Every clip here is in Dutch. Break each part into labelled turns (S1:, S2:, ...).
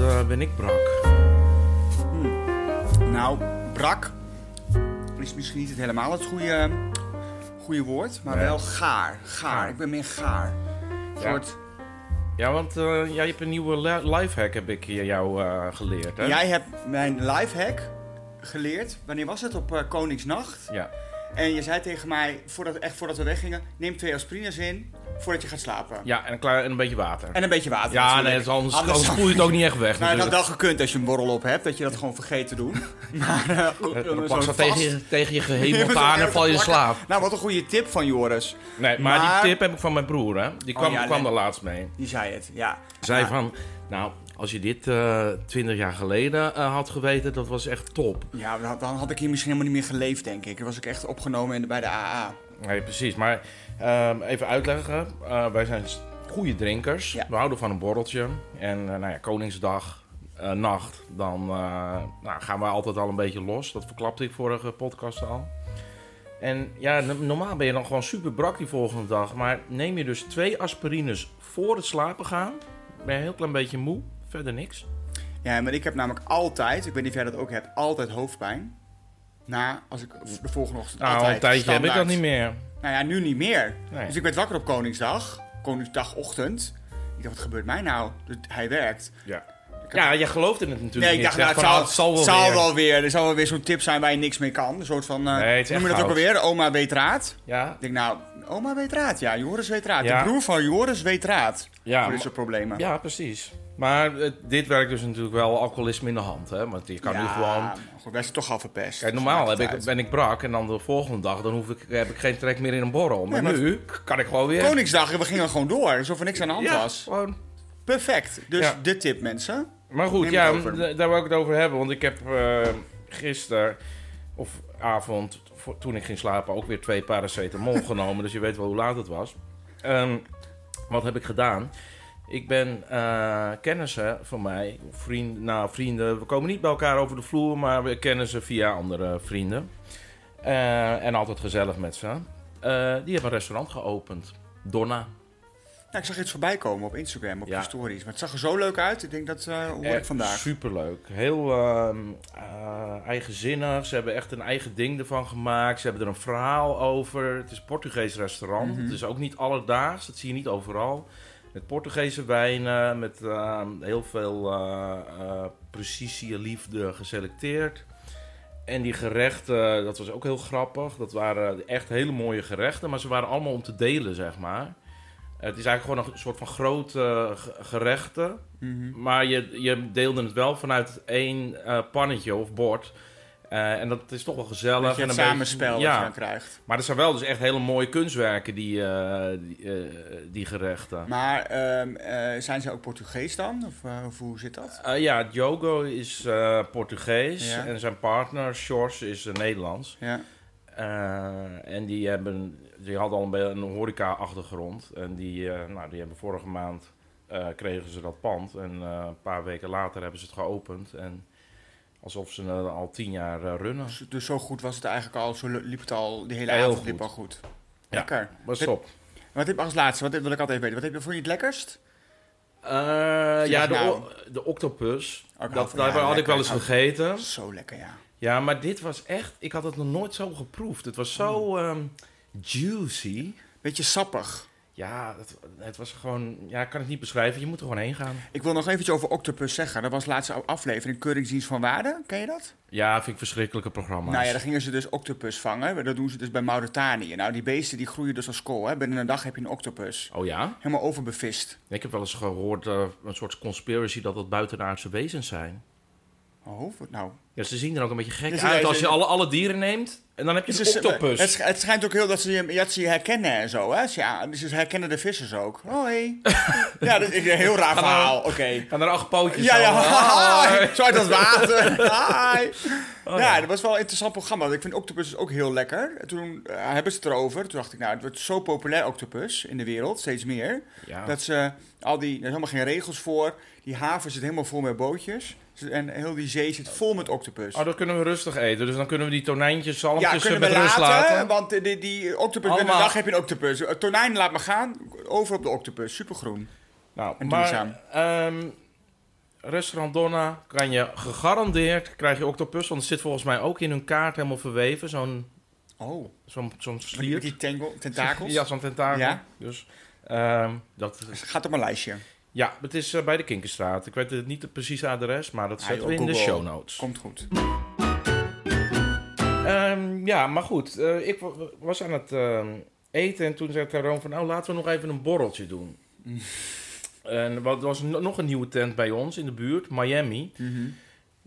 S1: eh, ben ik brak.
S2: Nou, brak is misschien niet het helemaal het goede, goede woord, maar wel gaar. Gaar. Ik ben meer gaar. Een
S1: Ja.
S2: soort-
S1: Ja, want eh, jij hebt een nieuwe li- lifehack, heb ik hier jou eh, geleerd. Hè?
S2: Jij hebt mijn lifehack geleerd. Wanneer was het? Op eh, Koningsnacht.
S1: Ja.
S2: En je zei tegen mij, voordat, echt voordat we weggingen, neem twee aspirines in voordat je gaat slapen.
S1: ja, en een, klaar, en een beetje water.
S2: En een beetje water.
S1: ja,
S2: natuurlijk.
S1: nee, is anders,
S2: Anders-
S1: anders spoel je het ook niet echt weg.
S2: Nou, dat
S1: natuurlijk.
S2: had wel gekund als je een borrel op hebt, dat je dat gewoon vergeet te doen. Maar eh,
S1: Eh, dan
S2: zo'n
S1: pak ze
S2: vast-
S1: tegen je, tegen je gehemeld
S2: Zo
S1: aan en
S2: erg
S1: val je in
S2: plakken.
S1: slaap.
S2: Nou, wat een goede tip van Joris.
S1: Nee, maar,
S2: Maar-
S1: die tip heb ik van mijn broer, hè. Die kwam,
S2: Oh, ja,
S1: kwam
S2: nee.
S1: er laatst mee.
S2: Die zei het, ja.
S1: Zei
S2: Ja.
S1: van, nou, als je dit eh, twintig jaar geleden eh, had geweten, dat was echt top.
S2: Ja, dan- dan had ik hier misschien helemaal niet meer geleefd, denk ik. Dan was ik echt opgenomen in de- bij de AA.
S1: Nee, precies. Maar ehm, even uitleggen. Eh, wij zijn s- goede drinkers.
S2: Ja.
S1: We houden van een borreltje. En eh, nou ja, Koningsdag, eh, nacht, dan eh, nou, gaan we altijd al een beetje los. Dat verklapte ik vorige podcast al. En ja, no- normaal ben je dan gewoon super brak die volgende dag. Maar neem je dus twee aspirines voor het slapen gaan. Ben je een heel klein beetje moe. Verder niks.
S2: Ja, maar ik heb namelijk altijd, ik weet niet of jij dat ook hebt, altijd hoofdpijn. Na, als ik de volgende ochtend
S1: Nou,
S2: altijd,
S1: een tijdje heb ik
S2: standaard.
S1: dat niet meer.
S2: Nou ja, nu niet meer.
S1: Nee.
S2: Dus ik werd wakker op Koningsdag, Koningsdagochtend. Ik dacht, wat gebeurt mij nou? Dus hij werkt.
S1: Ja. Ja, jij geloofde het natuurlijk
S2: Nee, ik
S1: niet.
S2: dacht,
S1: Je
S2: nou,
S1: zegt
S2: het
S1: van,
S2: zal,
S1: ah,
S2: zal,
S1: wel weer.
S2: wel weer. Er zal wel weer zo'n tip zijn waar je niks mee kan. Een soort van, eh
S1: Nee, het is
S2: noem je
S1: echt
S2: dat ook alweer? Oma weet raad.
S1: Ja,
S2: Ik denk, nou, oma weet raad. Ja, Joris weet raad.
S1: Ja.
S2: De broer van Joris weet raad.
S1: Ja,
S2: voor dit
S1: maar-
S2: soort problemen.
S1: Ja, precies. Maar het- dit werkt dus natuurlijk wel alcoholisme in de hand. Hè? Want je kan nu
S2: Ja,
S1: gewoon...
S2: maar Goed, wij zijn toch al verpest.
S1: Kijk,
S2: Dus
S1: normaal heb
S2: maakt het
S1: ik,
S2: uit.
S1: ben ik brak en dan de volgende dag dan hoef ik, heb ik geen trek meer in een borrel. Maar,
S2: Nee, maar-
S1: nu kan ik gewoon weer...
S2: Koningsdag, we gingen gewoon door. Alsof er niks aan de hand
S1: ja,
S2: was.
S1: gewoon.
S2: Perfect. Dus
S1: Ja.
S2: de tip, mensen.
S1: Maar goed,
S2: Neem
S1: ja,
S2: het over.
S1: d- daar wil ik het over hebben. Want ik heb eh gisteren of avond, voor- toen ik ging slapen, ook weer twee paracetamol genomen. Dus je weet wel hoe laat het was. Ehm, wat heb ik gedaan? Ik ben eh, kennissen van mij, vriend, nou vrienden, we komen niet bij elkaar over de vloer, maar we kennen ze via andere vrienden. Eh, en altijd gezellig met ze. Eh, die hebben een restaurant geopend. Donna.
S2: Nou, ik zag iets voorbij komen op Instagram, op
S1: Ja.
S2: je stories. Maar het zag er zo leuk uit. Ik denk, dat eh, hoor ik
S1: Echt
S2: vandaag.
S1: Superleuk. Heel ehm eh, eigenzinnig. Ze hebben echt een eigen ding ervan gemaakt. Ze hebben er een verhaal over. Het is een Portugees restaurant.
S2: Mhm.
S1: Het is ook niet alledaags. Dat zie je niet overal. Met Portugese wijnen. Met ehm, heel veel eh, eh, precisie en liefde geselecteerd. En die gerechten, dat was ook heel grappig. Dat waren echt hele mooie gerechten. Maar ze waren allemaal om te delen, zeg maar. Het is eigenlijk gewoon een soort van grote eh, ge- gerechten.
S2: Mhm.
S1: Maar je, je deelde het wel vanuit één eh, pannetje of bord. Eh, en dat is toch wel gezellig.
S2: Dat je
S1: en
S2: het
S1: een
S2: samenspel dat
S1: beetje-
S2: je
S1: ja.
S2: dan krijgt.
S1: Maar er zijn wel dus echt hele mooie kunstwerken, die, eh, die, eh, die gerechten.
S2: Maar ehm, eh, zijn ze ook Portugees dan? Of, eh, of hoe zit dat?
S1: Eh, ja, Diogo is eh, Portugees
S2: Ja.
S1: en zijn partner, Sjors, is eh, Nederlands.
S2: Ja.
S1: Eh, en die, hebben, die hadden al een, be- een horeca-achtergrond. En die, eh, nou, die hebben vorige maand eh, kregen ze dat pand. En eh, een paar weken later hebben ze het geopend. En alsof ze het al tien jaar eh, runnen.
S2: Dus, dus zo goed was het eigenlijk al. Zo liep het al. De hele
S1: Heel
S2: avond
S1: goed.
S2: liep al goed.
S1: Ja.
S2: Lekker.
S1: Maar stop.
S2: Wat heb als laatste? Wat wil ik altijd even weten? Wat heb je voor je het lekkerst?
S1: Eh, ja, de,
S2: nou.
S1: o- de octopus.
S2: hou
S1: dat
S2: van-
S1: daar
S2: ja,
S1: had ik
S2: lekker.
S1: wel eens
S2: Hou-
S1: vergeten.
S2: Zo lekker, ja.
S1: Ja, maar dit was echt... Ik had het nog nooit zo geproefd. Het was
S2: Hmm.
S1: zo ehm, juicy.
S2: Beetje sappig.
S1: Ja, het, het was gewoon... Ja, ik kan het niet beschrijven. Je moet er gewoon heen gaan.
S2: Ik wil nog eventjes over Octopus zeggen. Dat was laatste aflevering Keuringsdienst van Waarde. Ken je dat?
S1: Ja, vind ik verschrikkelijke programma's.
S2: Nou ja, daar gingen ze dus octopus vangen. Dat doen ze dus bij Mauritanië. Nou, die beesten die groeien dus als kool. Hè. Binnen een dag heb je een octopus.
S1: Oh ja?
S2: Helemaal overbevist.
S1: Ik heb wel eens gehoord, eh, een soort conspiracy, dat dat buitenaardse wezens zijn.
S2: Oh, wat nou?
S1: Ja, ze zien er ook een beetje gek
S2: Dus
S1: uit
S2: hij-
S1: als je alle, alle dieren neemt en dan heb je
S2: Ze-
S1: een
S2: ze-
S1: octopus.
S2: Het, sch- het schijnt ook heel dat ze, je- dat ze je herkennen en zo. Hè? Ze, ja, dus ze herkennen de vissers ook. Hoi. ja, dat is een heel raar verhaal. Oké.
S1: En er acht pootjes
S2: Ja,
S1: zo,
S2: ja.
S1: ah.
S2: Hi. Zo uit dat water. Hi.
S1: Oh,
S2: ja,
S1: ja.
S2: dat was wel een interessant programma. want Ik vind Octopus dus ook heel lekker. En Toen eh, hebben ze het erover. Toen dacht ik, nou, het wordt zo populair, Octopus, in de wereld. Steeds meer.
S1: Ja.
S2: Dat ze al die, er zijn helemaal geen regels voor. Die haven zit helemaal vol met bootjes. Ze- En heel die zee zit vol met octopus.
S1: Oh, dan kunnen we rustig eten. Dus dan kunnen we die tonijntjes,
S2: ja,
S1: zalmpjes eh,
S2: kunnen we
S1: met rust
S2: laten,
S1: laten.
S2: want eh, die, die octopus,
S1: Allemaal.
S2: binnen een dag heb je een octopus. Eh, Tonijn, laat maar gaan, over op de octopus, supergroen.
S1: Nou,
S2: En
S1: maar,
S2: duurzaam.
S1: ehm, restaurant Donna kan je gegarandeerd krijg je octopus. Want het zit volgens mij ook in hun kaart helemaal verweven. Zo'n
S2: Oh,
S1: zo'n zo'n
S2: die,
S1: slier.
S2: die tangle, tentakels.
S1: Ja, zo'n tentakel.
S2: Ja.
S1: Dus ehm, dat
S2: Gaat op mijn lijstje.
S1: ja, het is eh, bij de Kinkerstraat. Ik weet het niet het precieze adres, maar dat
S2: Ah,
S1: zetten
S2: joh,
S1: we in de
S2: Google.
S1: show notes.
S2: Komt goed.
S1: Ehm, ja, maar goed. eh, ik wa- was aan het ehm, eten en toen zei Tyrone van... nou, laten we nog even een borreltje doen. en wat- er was no- nog een nieuwe tent bij ons in de buurt, Miami.
S2: Mhm.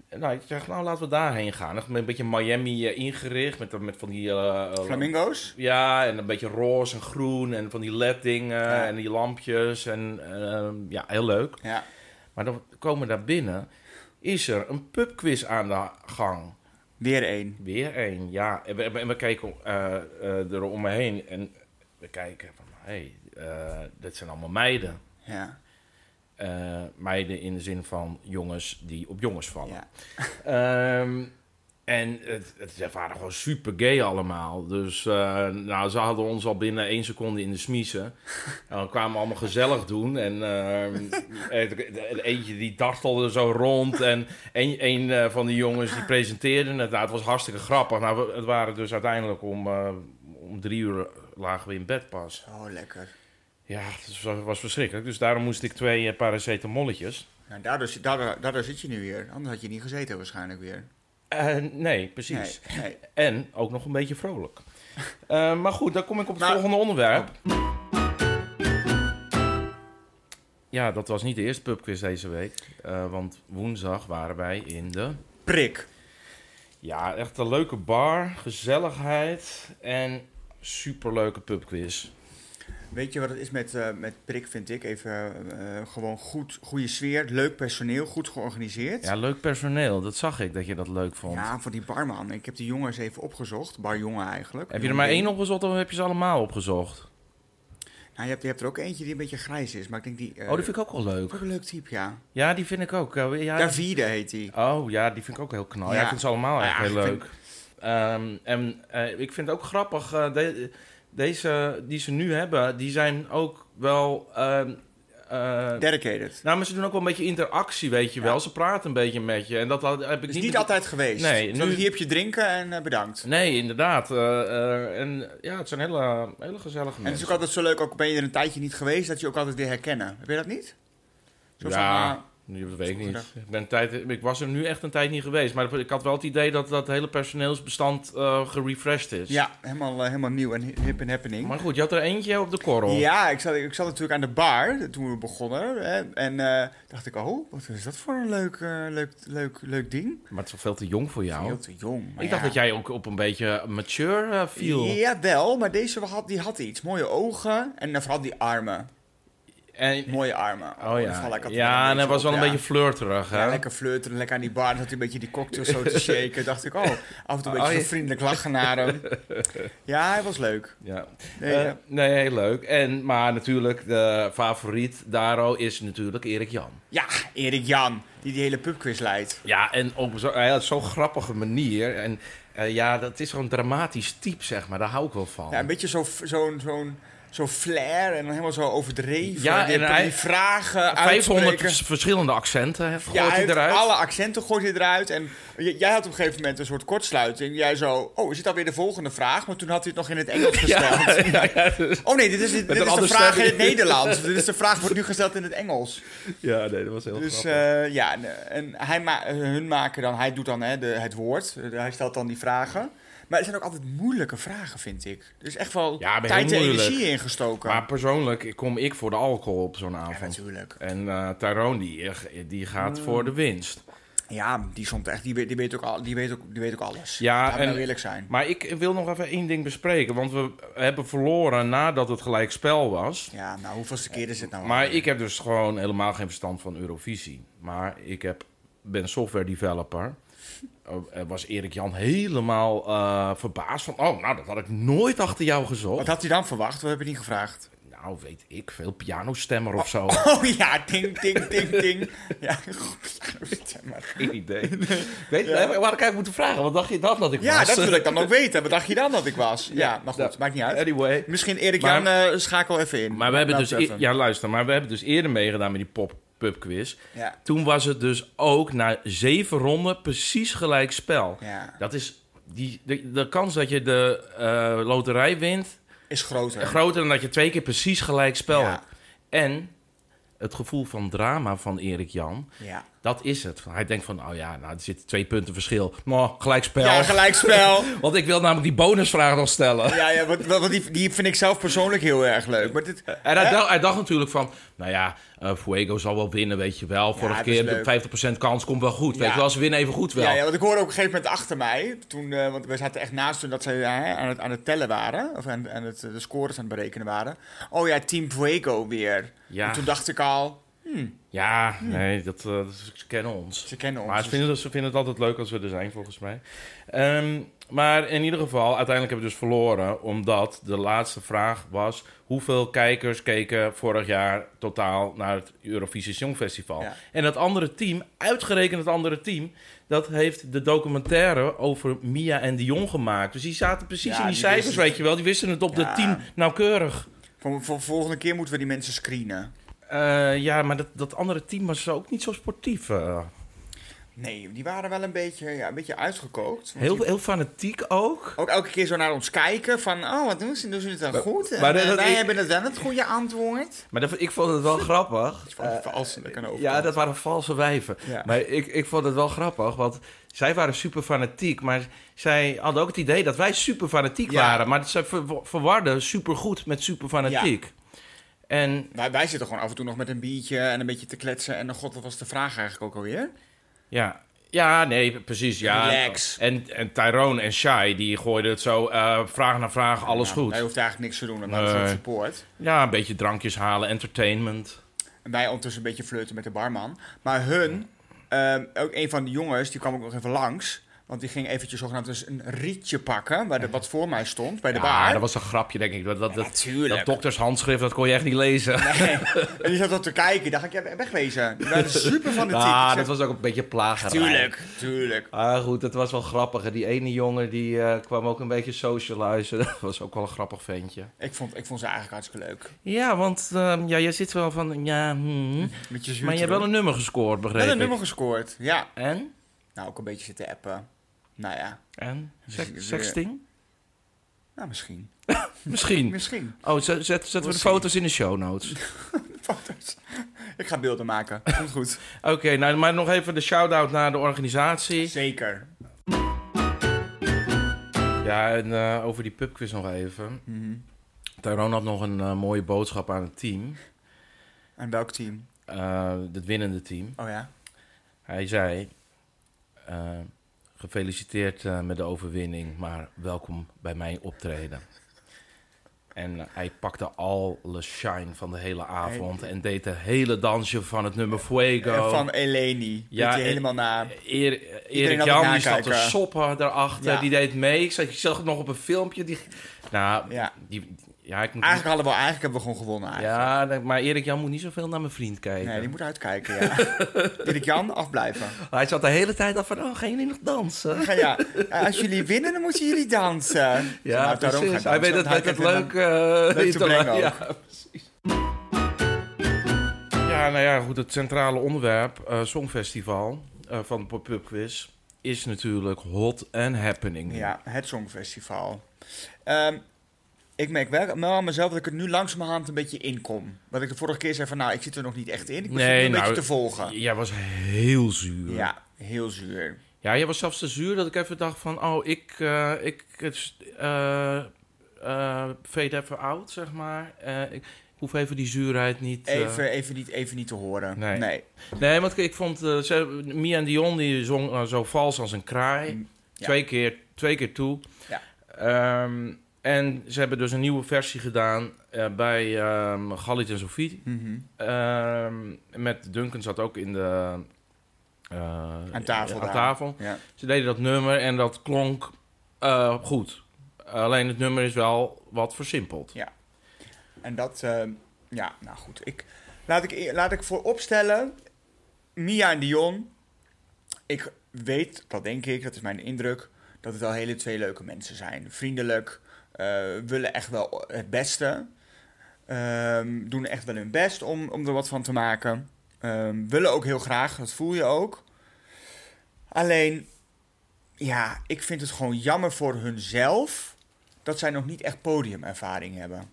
S1: En, nou, ik zeg, nou, laten we daarheen gaan. Echt Met een beetje Miami eh, ingericht, met, met van die... eh, eh,
S2: Flamingo's?
S1: Ja, en een beetje roze en groen en van die LED-dingen
S2: Ja.
S1: en die lampjes. En ehm, ja, heel leuk.
S2: Ja.
S1: Maar dan komen we daar binnen. Is er een pubquiz aan de gang?
S2: Weer één.
S1: Weer één, ja. En we, en we- en we kijken eh eh er om me heen en we kijken van... Hé, hey, eh, dat zijn allemaal meiden.
S2: Ja.
S1: Eh, meiden in de zin van jongens die op jongens vallen.
S2: ja.
S1: Ehm, en het, het, ze waren gewoon super gay allemaal. Dus eh, nou, ze hadden ons al binnen één seconde in de smiezen. En we kwamen allemaal gezellig doen. En ehm, het- het- eentje die dartelde zo rond. En een, een eh, van die jongens die presenteerde het. Nou, het was hartstikke grappig. Nou, we- het waren dus uiteindelijk om, eh, om drie uur lagen we in bed pas.
S2: Zo Oh, lekker.
S1: Ja, het was, was verschrikkelijk. Dus daarom moest ik twee eh, paracetamolletjes.
S2: Nou, daardoor, zit- daardoor, daardoor zit je nu weer. Anders had je niet gezeten waarschijnlijk weer.
S1: Eh, nee, precies.
S2: Nee, nee.
S1: En ook nog een beetje vrolijk. Eh, maar goed, dan kom ik op het
S2: Nou, oh.
S1: volgende onderwerp. Ja, dat was niet de eerste pubquiz deze week. eh, want woensdag waren wij in de...
S2: Prik.
S1: Ja, echt een leuke bar, gezelligheid en superleuke pubquiz.
S2: Weet je wat het is met, eh, met prik, vind ik? Even eh, gewoon goed, goede sfeer, leuk personeel, goed georganiseerd.
S1: Ja, leuk personeel. Dat zag ik, dat je dat leuk vond.
S2: Ja, voor die barman. Ik heb die jongen eens even opgezocht. Barjongen eigenlijk.
S1: Heb je er maar één
S2: op?
S1: opgezocht of heb je ze allemaal opgezocht?
S2: Nou, je hebt, je hebt er ook eentje die een beetje grijs is. Maar ik denk die... eh,
S1: Oh, die vind ik ook wel leuk.
S2: ook een leuk type, ja.
S1: Ja, die vind ik ook. eh, ja,
S2: Davide heet die.
S1: Oh ja, die vind ik ook heel knal. Ja,
S2: Ja. Ah,
S1: ik vind ze allemaal echt
S2: Ja,
S1: heel
S2: ik
S1: leuk.
S2: vind-
S1: Ehm, en eh, ik vind het ook grappig, eh, de- deze die ze nu hebben, die zijn ook wel... ehm, eh,
S2: Dedicated.
S1: nou, maar ze doen ook wel een beetje interactie, weet je
S2: Ja.
S1: wel. Ze praten een beetje met je. En dat had- heb ik
S2: Is
S1: niet...
S2: niet altijd geweest.
S1: Nee,
S2: Zo,
S1: nu-
S2: Hier heb je drinken en eh, bedankt.
S1: Nee, inderdaad. Eh, eh, en ja, het zijn hele, hele gezellige
S2: En het is
S1: mensen.
S2: ook altijd zo leuk, ook ben je er een tijdje niet geweest, dat je ook altijd weer herkennen. Heb je dat niet? Zo van,
S1: Ja.
S2: ah,
S1: Nu, dat weet ik niet.
S2: Goedendag.
S1: Ik, ben een tijd, ik was er nu echt een tijd niet geweest. Maar ik had wel het idee dat dat hele personeelsbestand eh gerefreshed is.
S2: ja, helemaal, eh, helemaal nieuw en hip en happening.
S1: Maar goed, je had er eentje op de korrel.
S2: Ja, ik zat, ik zat natuurlijk aan de bar toen we begonnen. Hè, en eh, dacht ik, oh, wat is dat voor een leuk, eh, leuk, leuk, leuk ding?
S1: Maar het is wel veel te jong voor jou.
S2: Heel te jong. maar
S1: Nou, ik dacht
S2: ja.
S1: dat jij ook op een beetje mature eh, viel.
S2: Ja, wel, maar deze had, die had iets. Mooie ogen en eh, vooral die armen.
S1: En,
S2: Mooie armen.
S1: oh
S2: daar val ik
S1: ja.
S2: altijd
S1: Ja, en hij
S2: beetje
S1: was
S2: op,
S1: wel een
S2: ja.
S1: beetje flirterig, hè?
S2: Ja, lekker flirten, lekker aan die bar. Zat hij een beetje die cocktail zo te shaken. Dacht ik, oh, af en toe een
S1: Oh,
S2: beetje
S1: je-
S2: zo vriendelijk lachen naar hem. Ja, hij was leuk.
S1: Ja.
S2: Nee,
S1: Eh,
S2: ja.
S1: nee, heel leuk. En, maar natuurlijk, de favoriet Daro is natuurlijk Erik Jan.
S2: Ja, Erik Jan, die die hele pubquiz leidt.
S1: Ja, en op zo- hij had zo'n grappige manier. En eh, ja, dat is zo'n dramatisch type, zeg maar. Daar hou ik wel van.
S2: Ja, een beetje zo'n zo, zo'n zo'n zo flair en dan helemaal zo overdreven.
S1: Ja,
S2: die,
S1: en
S2: die
S1: hij-
S2: vragen
S1: 500
S2: uitspreken.
S1: verschillende accenten hè, gooit
S2: Ja,
S1: hij
S2: uit
S1: eruit.
S2: alle accenten gooit hij eruit. En j- jij had op een gegeven moment een soort kortsluiting. Jij zo, oh, is dit alweer de volgende vraag? Maar toen had hij het nog in het Engels gesteld.
S1: ja, dus-
S2: Oh nee, dit is, dit,
S1: een
S2: is de
S1: andere
S2: vraag in
S1: stem.
S2: het Nederlands. dit is de vraag wordt nu gesteld in het Engels.
S1: ja, nee, dat was heel
S2: Dus
S1: grappig.
S2: eh, ja, en, en hij ma- hun maken dan, hij doet dan hè, de, het woord, Eh, hij stelt dan die vragen. Maar er zijn ook altijd moeilijke vragen, vind ik. Er is echt wel
S1: Ja, maar heel
S2: tijd en
S1: moeilijk.
S2: energie ingestoken.
S1: maar persoonlijk kom ik voor de alcohol op zo'n
S2: ja,
S1: avond.
S2: natuurlijk.
S1: En eh, Tyrone, die, die gaat
S2: Hmm.
S1: voor de winst.
S2: Ja, die stond echt, die weet, die weet, ook, al, die weet, ook, die weet ook alles.
S1: Ja,
S2: Laten we
S1: en-
S2: nou eerlijk zijn.
S1: Maar ik wil nog even één ding bespreken. Want we hebben verloren nadat het gelijkspel was.
S2: Ja, nou, hoeveelste keer is het nou?
S1: Maar
S2: alweer?
S1: ik heb dus gewoon helemaal geen verstand van Eurovisie. Maar ik heb, ben software developer. Eh, Was Erik Jan helemaal eh, verbaasd van... Oh, nou, dat had ik nooit achter jou gezocht.
S2: Wat had hij dan verwacht? Wat heb je niet gevraagd?
S1: Nou, weet ik veel. Pianostemmer of zo.
S2: Oh ja, ding, ding, ding, ding. ja, goed. maar-
S1: Geen idee. Weet, je, Waar ik eigenlijk moeten vragen. Wat dacht je dat dat ik
S2: Ja,
S1: was?
S2: dat wil ik dan ook weten. Wat dacht je dan dat ik was? Ja, maar goed,
S1: dat-
S2: maakt niet uit.
S1: Anyway.
S2: Misschien Erik
S1: Maar-
S2: Jan eh, schakel even in.
S1: Maar we hebben
S2: Laat
S1: dus...
S2: het
S1: e-
S2: even.
S1: ja, luister. Maar we hebben dus eerder meegedaan met die pop, pubquiz.
S2: Ja.
S1: Toen was het dus ook na zeven ronden precies gelijk spel.
S2: ja.
S1: Dat is die, de, de kans dat je de eh, loterij wint
S2: Is groter.
S1: groter dan dat je twee keer precies gelijk spel
S2: Ja.
S1: hebt. En het gevoel van drama van Erik Jan,
S2: Ja.
S1: dat is het. Hij denkt van, oh ja, nou, er zitten twee punten verschil. Maar gelijk spel.
S2: Ja, gelijkspel.
S1: Want ik wil namelijk die bonusvraag nog stellen.
S2: ja, ja want, want die, die vind ik zelf persoonlijk heel erg leuk. Maar dit,
S1: En hij, dacht, hij dacht natuurlijk van, nou ja, eh Fuego zal wel winnen, weet je wel. Vorige
S2: dat is leuk.
S1: keer de 50% kans komt wel goed.
S2: Ja.
S1: Weet je wel, ze winnen even goed wel.
S2: Ja, ja, want ik hoorde op een gegeven moment achter mij, toen, eh, want we zaten echt naast toen dat ze ja, hè, aan, het, aan het tellen waren, of aan, aan het, eh, de scores aan het berekenen waren. Oh ja, Team Fuego weer.
S1: Ja.
S2: En toen dacht ik al,
S1: Ja,
S2: Hm.
S1: nee, dat, eh, dat is- ze kennen ons.
S2: ze kennen ons. Dus
S1: Maar ze vinden, het- ze vinden het altijd leuk als we er zijn, volgens mij. Ehm, maar in ieder geval, uiteindelijk hebben we dus verloren. Omdat de laatste vraag was... hoeveel kijkers keken vorig jaar totaal naar het Eurovisie Songfestival?
S2: Ja.
S1: En dat andere team, uitgerekend het andere team... dat heeft de documentaire over Mia en Dion gemaakt. Dus die zaten precies
S2: Ja,
S1: in die,
S2: die
S1: cijfers,
S2: wisten-
S1: weet je wel. Die wisten het op
S2: Ja.
S1: de team nauwkeurig.
S2: Voor, voor volgende keer moeten we die mensen screenen.
S1: Eh, ja, maar dat, dat andere team was ook niet zo sportief. eh.
S2: Nee, die waren wel een beetje, ja, een beetje uitgekookt. Want
S1: Heel,
S2: die-
S1: heel fanatiek ook.
S2: Ook elke keer zo naar ons kijken van, oh, wat doen ze? Doen ze het dan goed? En,
S1: maar dat-
S2: eh,
S1: dat-
S2: wij
S1: ik-
S2: hebben het dan het goede antwoord.
S1: Maar dat, ik vond het wel grappig.
S2: Van,
S1: Eh,
S2: als ze dat kan overkomen.
S1: ja, dat waren valse wijven.
S2: Ja.
S1: Maar ik, ik vond het wel grappig, want zij waren super fanatiek. Maar zij hadden ook het idee dat wij super fanatiek
S2: Ja.
S1: waren. Maar ze ver- verwarden supergoed met super fanatiek. En
S2: Wij, wij zitten gewoon af en toe nog met een biertje en een beetje te kletsen. En dan god, wat was de vraag eigenlijk ook alweer?
S1: ja. Ja, nee, precies. Ja.
S2: Relax.
S1: En, en Tyrone en Shai, die gooiden het zo eh, vraag na vraag, alles
S2: Nou, Hij
S1: goed.
S2: hoeft eigenlijk niks te doen, maar
S1: Nee.
S2: dat is ook support.
S1: Ja, een beetje drankjes halen, entertainment.
S2: En wij ondertussen een beetje flirten met de barman. Maar hun, ehm, ook een van de jongens, die kwam ook nog even langs. Want die ging eventjes zogenaamd dus een rietje pakken, waar de, wat voor mij stond, bij de
S1: Ja,
S2: bar.
S1: dat was een grapje, denk ik. Dat, dat, dat,
S2: natuurlijk.
S1: dat doktershandschrift, dat kon je echt niet lezen.
S2: En die zat dat te kijken, dacht ik, ja, wegwezen. Die waren super van de
S1: Ja, Ah, dat was ook een beetje plagerij.
S2: Tuurlijk, tuurlijk.
S1: Ah, goed, dat was wel grappig. En Die ene jongen die eh, kwam ook een beetje socializen. Dat was ook wel een grappig ventje.
S2: Ik vond, ik vond ze eigenlijk hartstikke leuk.
S1: Ja, want ehm, ja, jij zit wel van... Ja, hmm.
S2: Met je zuur
S1: Maar je
S2: te
S1: hebt wel
S2: doen.
S1: een nummer gescoord,
S2: Wel
S1: begreep
S2: een
S1: ik.
S2: nummer gescoord, ja.
S1: En?
S2: Nou, ook een beetje zitten appen. Nou ja,
S1: En? eh, Sek-
S2: Dus-
S1: Sexting?
S2: nou misschien.
S1: Misschien.
S2: Misschien.
S1: Oh, zet, zet- zetten we de
S2: Misschien.
S1: foto's in de show notes.
S2: Foto's. Ik ga beelden maken. Komt goed.
S1: Oké, nou, maar nog even de shout-out naar de organisatie.
S2: Zeker.
S1: Ja, en eh, over die pubquiz nog even.
S2: Mhm.
S1: Tyrone had nog een eh, mooie boodschap aan het team.
S2: En welk team?
S1: Eh, het winnende team.
S2: Oh ja.
S1: Hij zei: eh, Gefeliciteerd eh, met de overwinning, maar welkom bij mijn optreden. En eh, hij pakte alle shine van de hele avond en deed de hele dansje van het nummer Fuego.
S2: En van Eleni.
S1: Ja, eh,
S2: Ja, die
S1: en-
S2: helemaal na.
S1: Eer- Erik
S2: had
S1: Jan
S2: het
S1: die zat te
S2: nakijken.
S1: soppen daarachter,
S2: Ja.
S1: die deed mee. Ik zag, ik zag het nog op een filmpje. Die, nou,
S2: Ja.
S1: die, ja, ik moet
S2: Eigenlijk, hadden we, eigenlijk hebben we gewoon gewonnen.
S1: niet,
S2: Eigenlijk.
S1: ja, maar Erik Jan moet niet zoveel naar mijn vriend kijken.
S2: Nee, die moet uitkijken, ja. Erik Jan, afblijven.
S1: Hij zat de hele tijd af van, oh, gaan jullie nog dansen?
S2: Ga ja. Eh, Als jullie winnen, dan moeten jullie dansen.
S1: Ja,
S2: Nou, daarom
S1: precies.
S2: gaan
S1: Hij weet
S2: dansen,
S1: dat
S2: want
S1: het, het
S2: hij
S1: leuk, eh,
S2: leuk te brengen ook.
S1: Ja, precies. Ja, nou ja, goed. Het centrale onderwerp, eh, Songfestival eh, van de Pop-Up Quiz, is natuurlijk hot and happening.
S2: Ja, het Songfestival. Ehm, ik merk wel wel aan mezelf dat ik er nu langzamerhand een beetje in kom. Wat ik de vorige keer zei van, nou, ik zit er nog niet echt in. Ik begin
S1: Nee,
S2: nu een
S1: nou,
S2: beetje te volgen.
S1: Jij was heel zuur.
S2: Ja, heel zuur.
S1: Ja, jij was zelfs te zuur dat ik even dacht van, oh, ik, eh ik het, eh eh, fade even out, zeg maar. Eh, ik hoef even die zuurheid niet... eh,
S2: Even, even, niet, even niet te horen.
S1: Nee.
S2: nee.
S1: Nee, want ik- ik vond eh, ze- Mia en Dion die zong eh, zo vals als een kraai.
S2: Mm, ja.
S1: Twee, keer, twee keer toe.
S2: Ja.
S1: Ehm, en ze hebben dus een nieuwe versie gedaan eh, bij ehm Galit en Sofie.
S2: Mhm.
S1: Ehm, met Duncan zat ook in de... eh,
S2: Aan tafel
S1: Aan
S2: daar.
S1: tafel.
S2: Ja.
S1: Ze deden dat nummer en dat klonk eh, goed. Alleen het nummer is wel wat versimpeld.
S2: En dat, ehm, ja, nou goed. Ik, laat, ik, laat ik voor opstellen, Mia en Dion. Ik weet, dat denk ik, dat is mijn indruk, dat het al hele twee leuke mensen zijn. Vriendelijk, eh, willen echt wel het beste. Ehm, doen echt wel hun best om, om er wat van te maken. Ehm, willen ook heel graag, dat voel je ook. Alleen, ja, ik vind het gewoon jammer voor hunzelf dat zij nog niet echt podiumervaring hebben.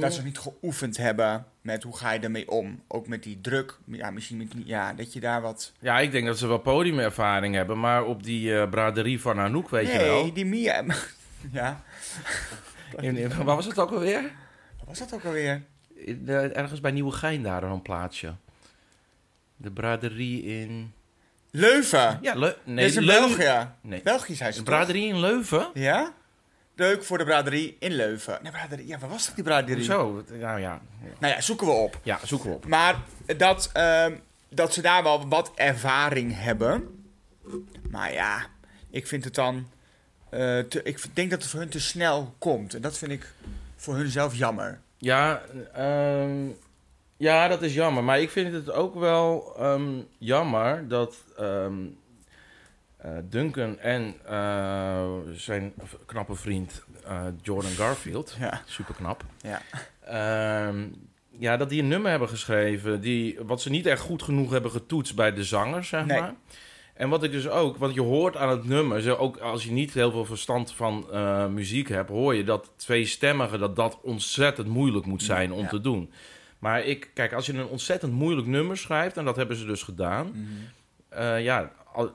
S2: Dat ze nog niet geoefend hebben met hoe ga je ermee om. Ook met die druk. Ja, misschien met, ja, dat je daar wat...
S1: Ja, ik denk dat ze wel podiumervaring hebben, maar op die eh, braderie van Anouk, weet
S2: nee,
S1: je wel.
S2: die Mia... ja,
S1: In, in- waar was het ook alweer?
S2: wat was dat ook alweer?
S1: In, eh, ergens bij Nieuwegein daar een plaatsje. De braderie in...
S2: Leuven.
S1: Ja, Leu-
S2: Nee,
S1: nee,
S2: dat is in
S1: Leu-
S2: België.
S1: Nee,
S2: Belgisch zijn ze
S1: de
S2: toch?
S1: braderie in Leuven?
S2: Ja? Leuk voor de braderie in Leuven. Nee, braderie. Ja, waar was dat die braderie?
S1: Zo, wat- nou ja.
S2: Nou ja, zoeken we op.
S1: Ja, zoeken we op.
S2: Maar dat, ehm, dat ze daar wel wat ervaring hebben. Maar ja, ik vind het dan. eh, te- ik denk dat het voor hun te snel komt. En dat vind ik voor hun zelf jammer.
S1: Ja, ehm, ja, dat is jammer. Maar ik vind het ook wel ehm, jammer dat ehm, eh, Duncan en eh, zijn v- knappe vriend eh, Jordan Garfield,
S2: Ja.
S1: super knap,
S2: Ja.
S1: Ehm, ja, dat die een nummer hebben geschreven die, wat ze niet echt goed genoeg hebben getoetst bij de zanger, zeg
S2: Nee.
S1: maar. En wat ik dus ook, want je hoort aan het nummer, zo ook als je niet heel veel verstand van eh, muziek hebt, hoor je dat tweestemmige, dat dat ontzettend moeilijk moet zijn om
S2: Ja.
S1: te doen. Maar ik, kijk, als je een ontzettend moeilijk nummer schrijft, en dat hebben ze dus gedaan, eh, ja, al-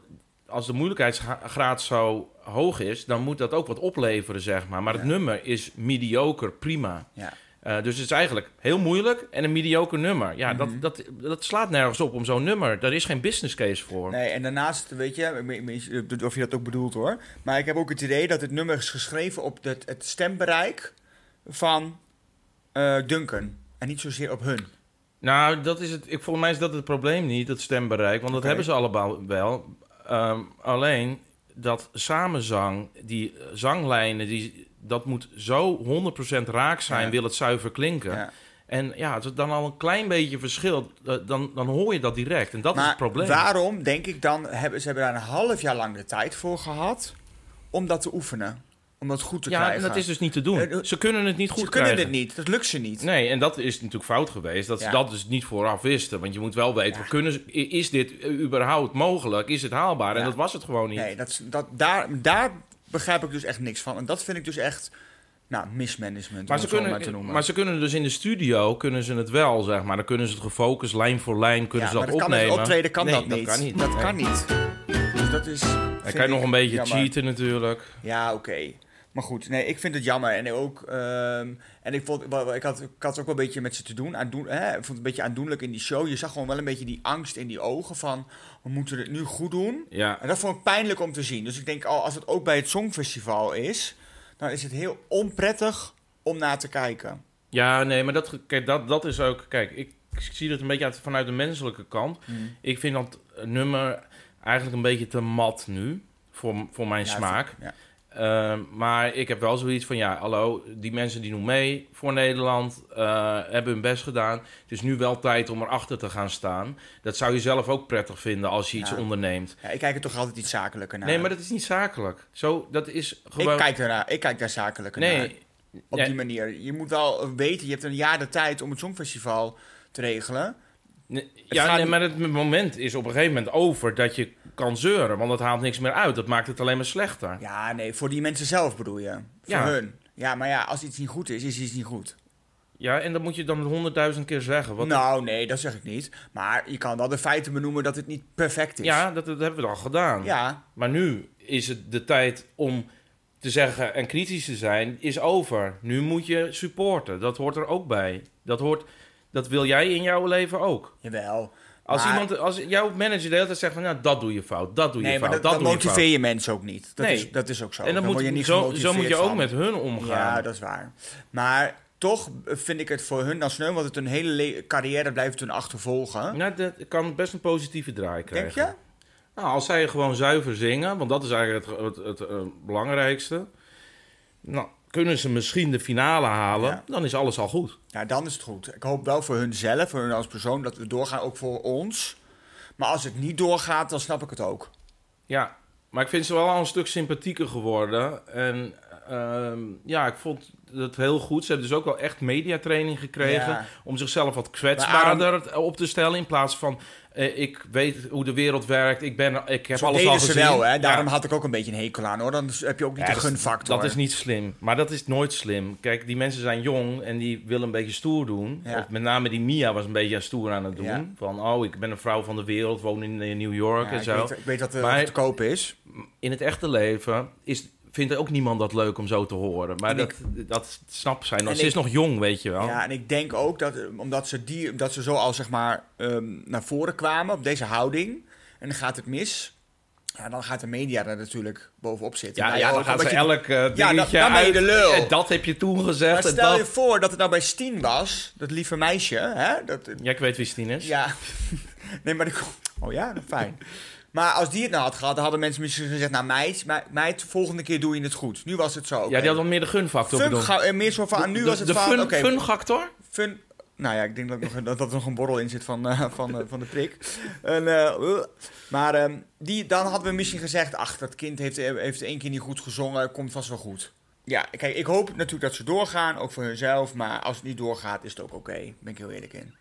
S1: als de moeilijkheidsgraad zo hoog is, dan moet dat ook wat opleveren, zeg maar. Maar het
S2: Ja.
S1: nummer is mediocre, prima.
S2: Ja.
S1: Eh, dus het is eigenlijk heel moeilijk en een mediocre nummer. Ja,
S2: Mhm.
S1: dat, dat, dat slaat nergens op om zo'n nummer. Daar is geen business case voor.
S2: Nee, en daarnaast, weet je, ik weet niet of je dat ook bedoelt hoor. Maar ik heb ook het idee dat het nummer is geschreven op het, het stembereik van eh, Duncan. En niet zozeer op hun.
S1: Nou, dat is het. Ik, volgens mij is dat het probleem niet, dat stembereik. Want dat
S2: Oké.
S1: hebben ze allemaal wel. Ehm, alleen dat samenzang, die eh, zanglijnen, die, dat moet zo 100% raak zijn,
S2: Ja.
S1: wil het zuiver klinken.
S2: Ja.
S1: En ja, als het dan al een klein beetje verschilt, eh, dan, dan hoor je dat direct. En dat is
S2: maar
S1: het probleem.
S2: waarom, denk ik dan, hebben, ze hebben daar een half jaar lang de tijd voor gehad om dat te oefenen. Om dat goed te
S1: ja, en
S2: krijgen.
S1: dat is dus niet te
S2: Eh, eh,
S1: doen. Ze kunnen het niet goed
S2: ze kunnen
S1: krijgen.
S2: het niet, dat lukt ze niet.
S1: Nee, en dat is natuurlijk fout geweest. Dat
S2: Ja.
S1: ze dat dus niet vooraf wisten. Want je moet wel weten,
S2: Ja.
S1: we kunnen, ze- i- is dit überhaupt mogelijk? Is het haalbaar?
S2: Ja.
S1: En dat was het gewoon niet.
S2: Nee, dat, is- dat, daar, daar begrijp ik dus echt niks van. En dat vind ik dus echt, nou, mismanagement,
S1: Maar
S2: om
S1: ze,
S2: het zo maar te
S1: kunnen,
S2: noemen.
S1: maar ze kunnen dus in de studio kunnen ze het wel, zeg maar. Dan kunnen ze het gefocust, lijn voor lijn, kunnen
S2: ja,
S1: ze dat
S2: maar Kan,
S1: opnemen.
S2: met optreden kan
S1: Nee,
S2: dat niet.
S1: Dat kan niet.
S2: Dat
S1: Nee.
S2: kan niet. Dus dat is...
S1: Dan
S2: vind
S1: kan je nog
S2: ik
S1: een beetje
S2: jammer.
S1: cheaten natuurlijk.
S2: Ja, oké. Maar goed, nee, ik vind het jammer. En ook, ehm, en ik, vond, wel- wel- ik, had, ik had ook wel een beetje met ze te doen. Aandoen, hè, ik vond het een beetje aandoenlijk in die show. Je zag gewoon wel een beetje die angst in die ogen van... we moeten het nu goed doen.
S1: Ja,
S2: En dat vond ik pijnlijk om te zien. Dus ik denk, al als het ook bij het Songfestival is... dan is het heel onprettig om naar te kijken.
S1: ja nee, maar dat, kijk, dat, dat is ook... Kijk, ik zie dat een beetje uit- vanuit de menselijke kant. Ik vind dat nummer eigenlijk een beetje te mat nu, voor, voor mijn
S2: Ja,
S1: smaak.
S2: Ja.
S1: Ehm, maar ik heb wel zoiets van, ja, hallo, die mensen die doen mee voor Nederland eh, hebben hun best gedaan. Het is nu wel tijd om erachter te gaan staan. Dat zou je zelf ook prettig vinden als je iets
S2: Ja.
S1: onderneemt.
S2: Ja, ik kijk er toch altijd iets zakelijker naar.
S1: Nee, maar dat is niet zakelijk. Zo, dat is gewoon...
S2: ik, kijk ernaar, ik kijk daar zakelijker naar.
S1: nee,
S2: Op
S1: Ja.
S2: die manier. Je moet wel weten, je hebt een jaar de tijd om het Songfestival te regelen.
S1: nee,
S2: Het
S1: ja,
S2: gaat
S1: nee,
S2: niet-
S1: maar het moment is op een gegeven moment over dat je kan zeuren. Want dat haalt niks meer uit. Dat maakt het alleen maar slechter.
S2: Ja, nee, voor die mensen zelf bedoel je. Voor
S1: Ja.
S2: hun. Ja, maar ja, als iets niet goed is, is iets niet goed.
S1: Ja, en dat moet je dan honderdduizend keer zeggen. Wat
S2: nou, nee, dat zeg ik niet. Maar je kan wel de feiten benoemen dat het niet perfect is.
S1: ja, dat, dat hebben we al gedaan.
S2: Ja,
S1: Maar nu is het de tijd om te zeggen en kritisch te zijn, is over. Nu moet je supporten. Dat hoort er ook bij. Dat, hoort, dat wil jij in jouw leven ook.
S2: jawel.
S1: Als,
S2: Maar-
S1: iemand, als jouw manager de hele tijd zegt van... Nou, dat doe je fout, dat doe je
S2: Nee, maar
S1: fout, dat,
S2: dat, dat
S1: doe je
S2: motiveer
S1: fout.
S2: je mensen ook niet. Dat,
S1: Nee.
S2: is, dat is ook zo.
S1: En dan moet
S2: word je
S1: je
S2: niet
S1: zo,
S2: gemotiveerd
S1: zo moet je ook
S2: van.
S1: met hun omgaan.
S2: Ja, dat is waar. Maar toch vind ik het voor hun dan sneu, want het hun hele le- carrière blijft hun achtervolgen.
S1: Nou, dat kan best een positieve draai
S2: Denk
S1: krijgen.
S2: je?
S1: Nou, als zij gewoon zuiver zingen, want dat is eigenlijk het, het, het, eh, belangrijkste. Nou, kunnen ze misschien de finale halen,
S2: Ja.
S1: dan is alles al goed.
S2: Ja, dan is het goed. Ik hoop wel voor hunzelf, voor hun als persoon, dat we doorgaan, ook voor ons. Maar als het niet doorgaat, dan snap ik het ook.
S1: Ja, maar ik vind ze wel al een stuk sympathieker geworden. En eh, ehm, ja, ik vond het heel goed. Ze hebben dus ook wel echt mediatraining gekregen.
S2: Ja.
S1: Om zichzelf wat
S2: Maar
S1: kwetsbaarder op te stellen. In plaats van, eh, ik weet hoe de wereld werkt. Ik, ben, ik heb
S2: Zo
S1: alles
S2: deden
S1: al
S2: ze
S1: gezien.
S2: wel, hè?
S1: Ja.
S2: Daarom had ik ook een beetje een hekel aan, hoor. Dan heb je ook niet
S1: Ja,
S2: de
S1: dat-
S2: gunfactor.
S1: Dat is niet slim. Maar dat is nooit slim. Kijk, die mensen zijn jong en die willen een beetje stoer doen.
S2: Ja.
S1: Of met name die Mia was een beetje stoer aan het doen.
S2: Ja.
S1: Van, oh, ik ben een vrouw van de wereld, woon in eh, New York
S2: Ja,
S1: en
S2: ik,
S1: zo.
S2: weet, ik weet dat eh,
S1: Maar-
S2: het te koop is.
S1: In het echte leven is, vindt ook niemand dat leuk om zo te horen. Maar
S2: En
S1: dat, dat snapt zij nog.
S2: en
S1: Ze is
S2: ik-
S1: nog jong, weet je wel.
S2: Ja, en ik denk ook dat eh, omdat ze, die, omdat ze zo al zeg maar ehm, naar voren kwamen op deze houding en dan gaat het mis, ja, dan gaat de media er natuurlijk bovenop zitten.
S1: Ja,
S2: Nou,
S1: ja,
S2: joh,
S1: dan gaat ze
S2: omdat je-
S1: elk eh,
S2: dan-
S1: dingetje
S2: dan ben je
S1: uit.
S2: de lul.
S1: En dat heb je toen gezegd.
S2: Maar
S1: En
S2: stel je
S1: dat...
S2: voor dat het nou bij Stien was, dat lieve meisje, hè? Dat,
S1: Ja, ik weet wie Stien is.
S2: ja, nee, maar ik, oh ja, nou, fijn. Maar als die het nou had gehad, dan hadden mensen misschien gezegd, nou meid, me- meid, volgende keer doe je het goed. Nu was het zo. oké.
S1: Ja, die had wel meer de gunfactor
S2: Fun
S1: bedoeld.
S2: ga- eh, meer zo van, nu
S1: De-
S2: was het
S1: de
S2: van,
S1: fun,
S2: oké,
S1: funfactor?
S2: Fun. Nou ja, ik denk dat, nog, dat, dat er nog een borrel in zit van, eh, van, eh, van de prik. En, eh, uh. maar ehm, die, dan hadden we misschien gezegd: ach, dat kind heeft, eh, heeft één keer niet goed gezongen, komt vast wel goed. Ja, kijk, ik hoop natuurlijk dat ze doorgaan, ook voor hunzelf. Maar als het niet doorgaat, is het ook oké. Ben ik heel eerlijk in.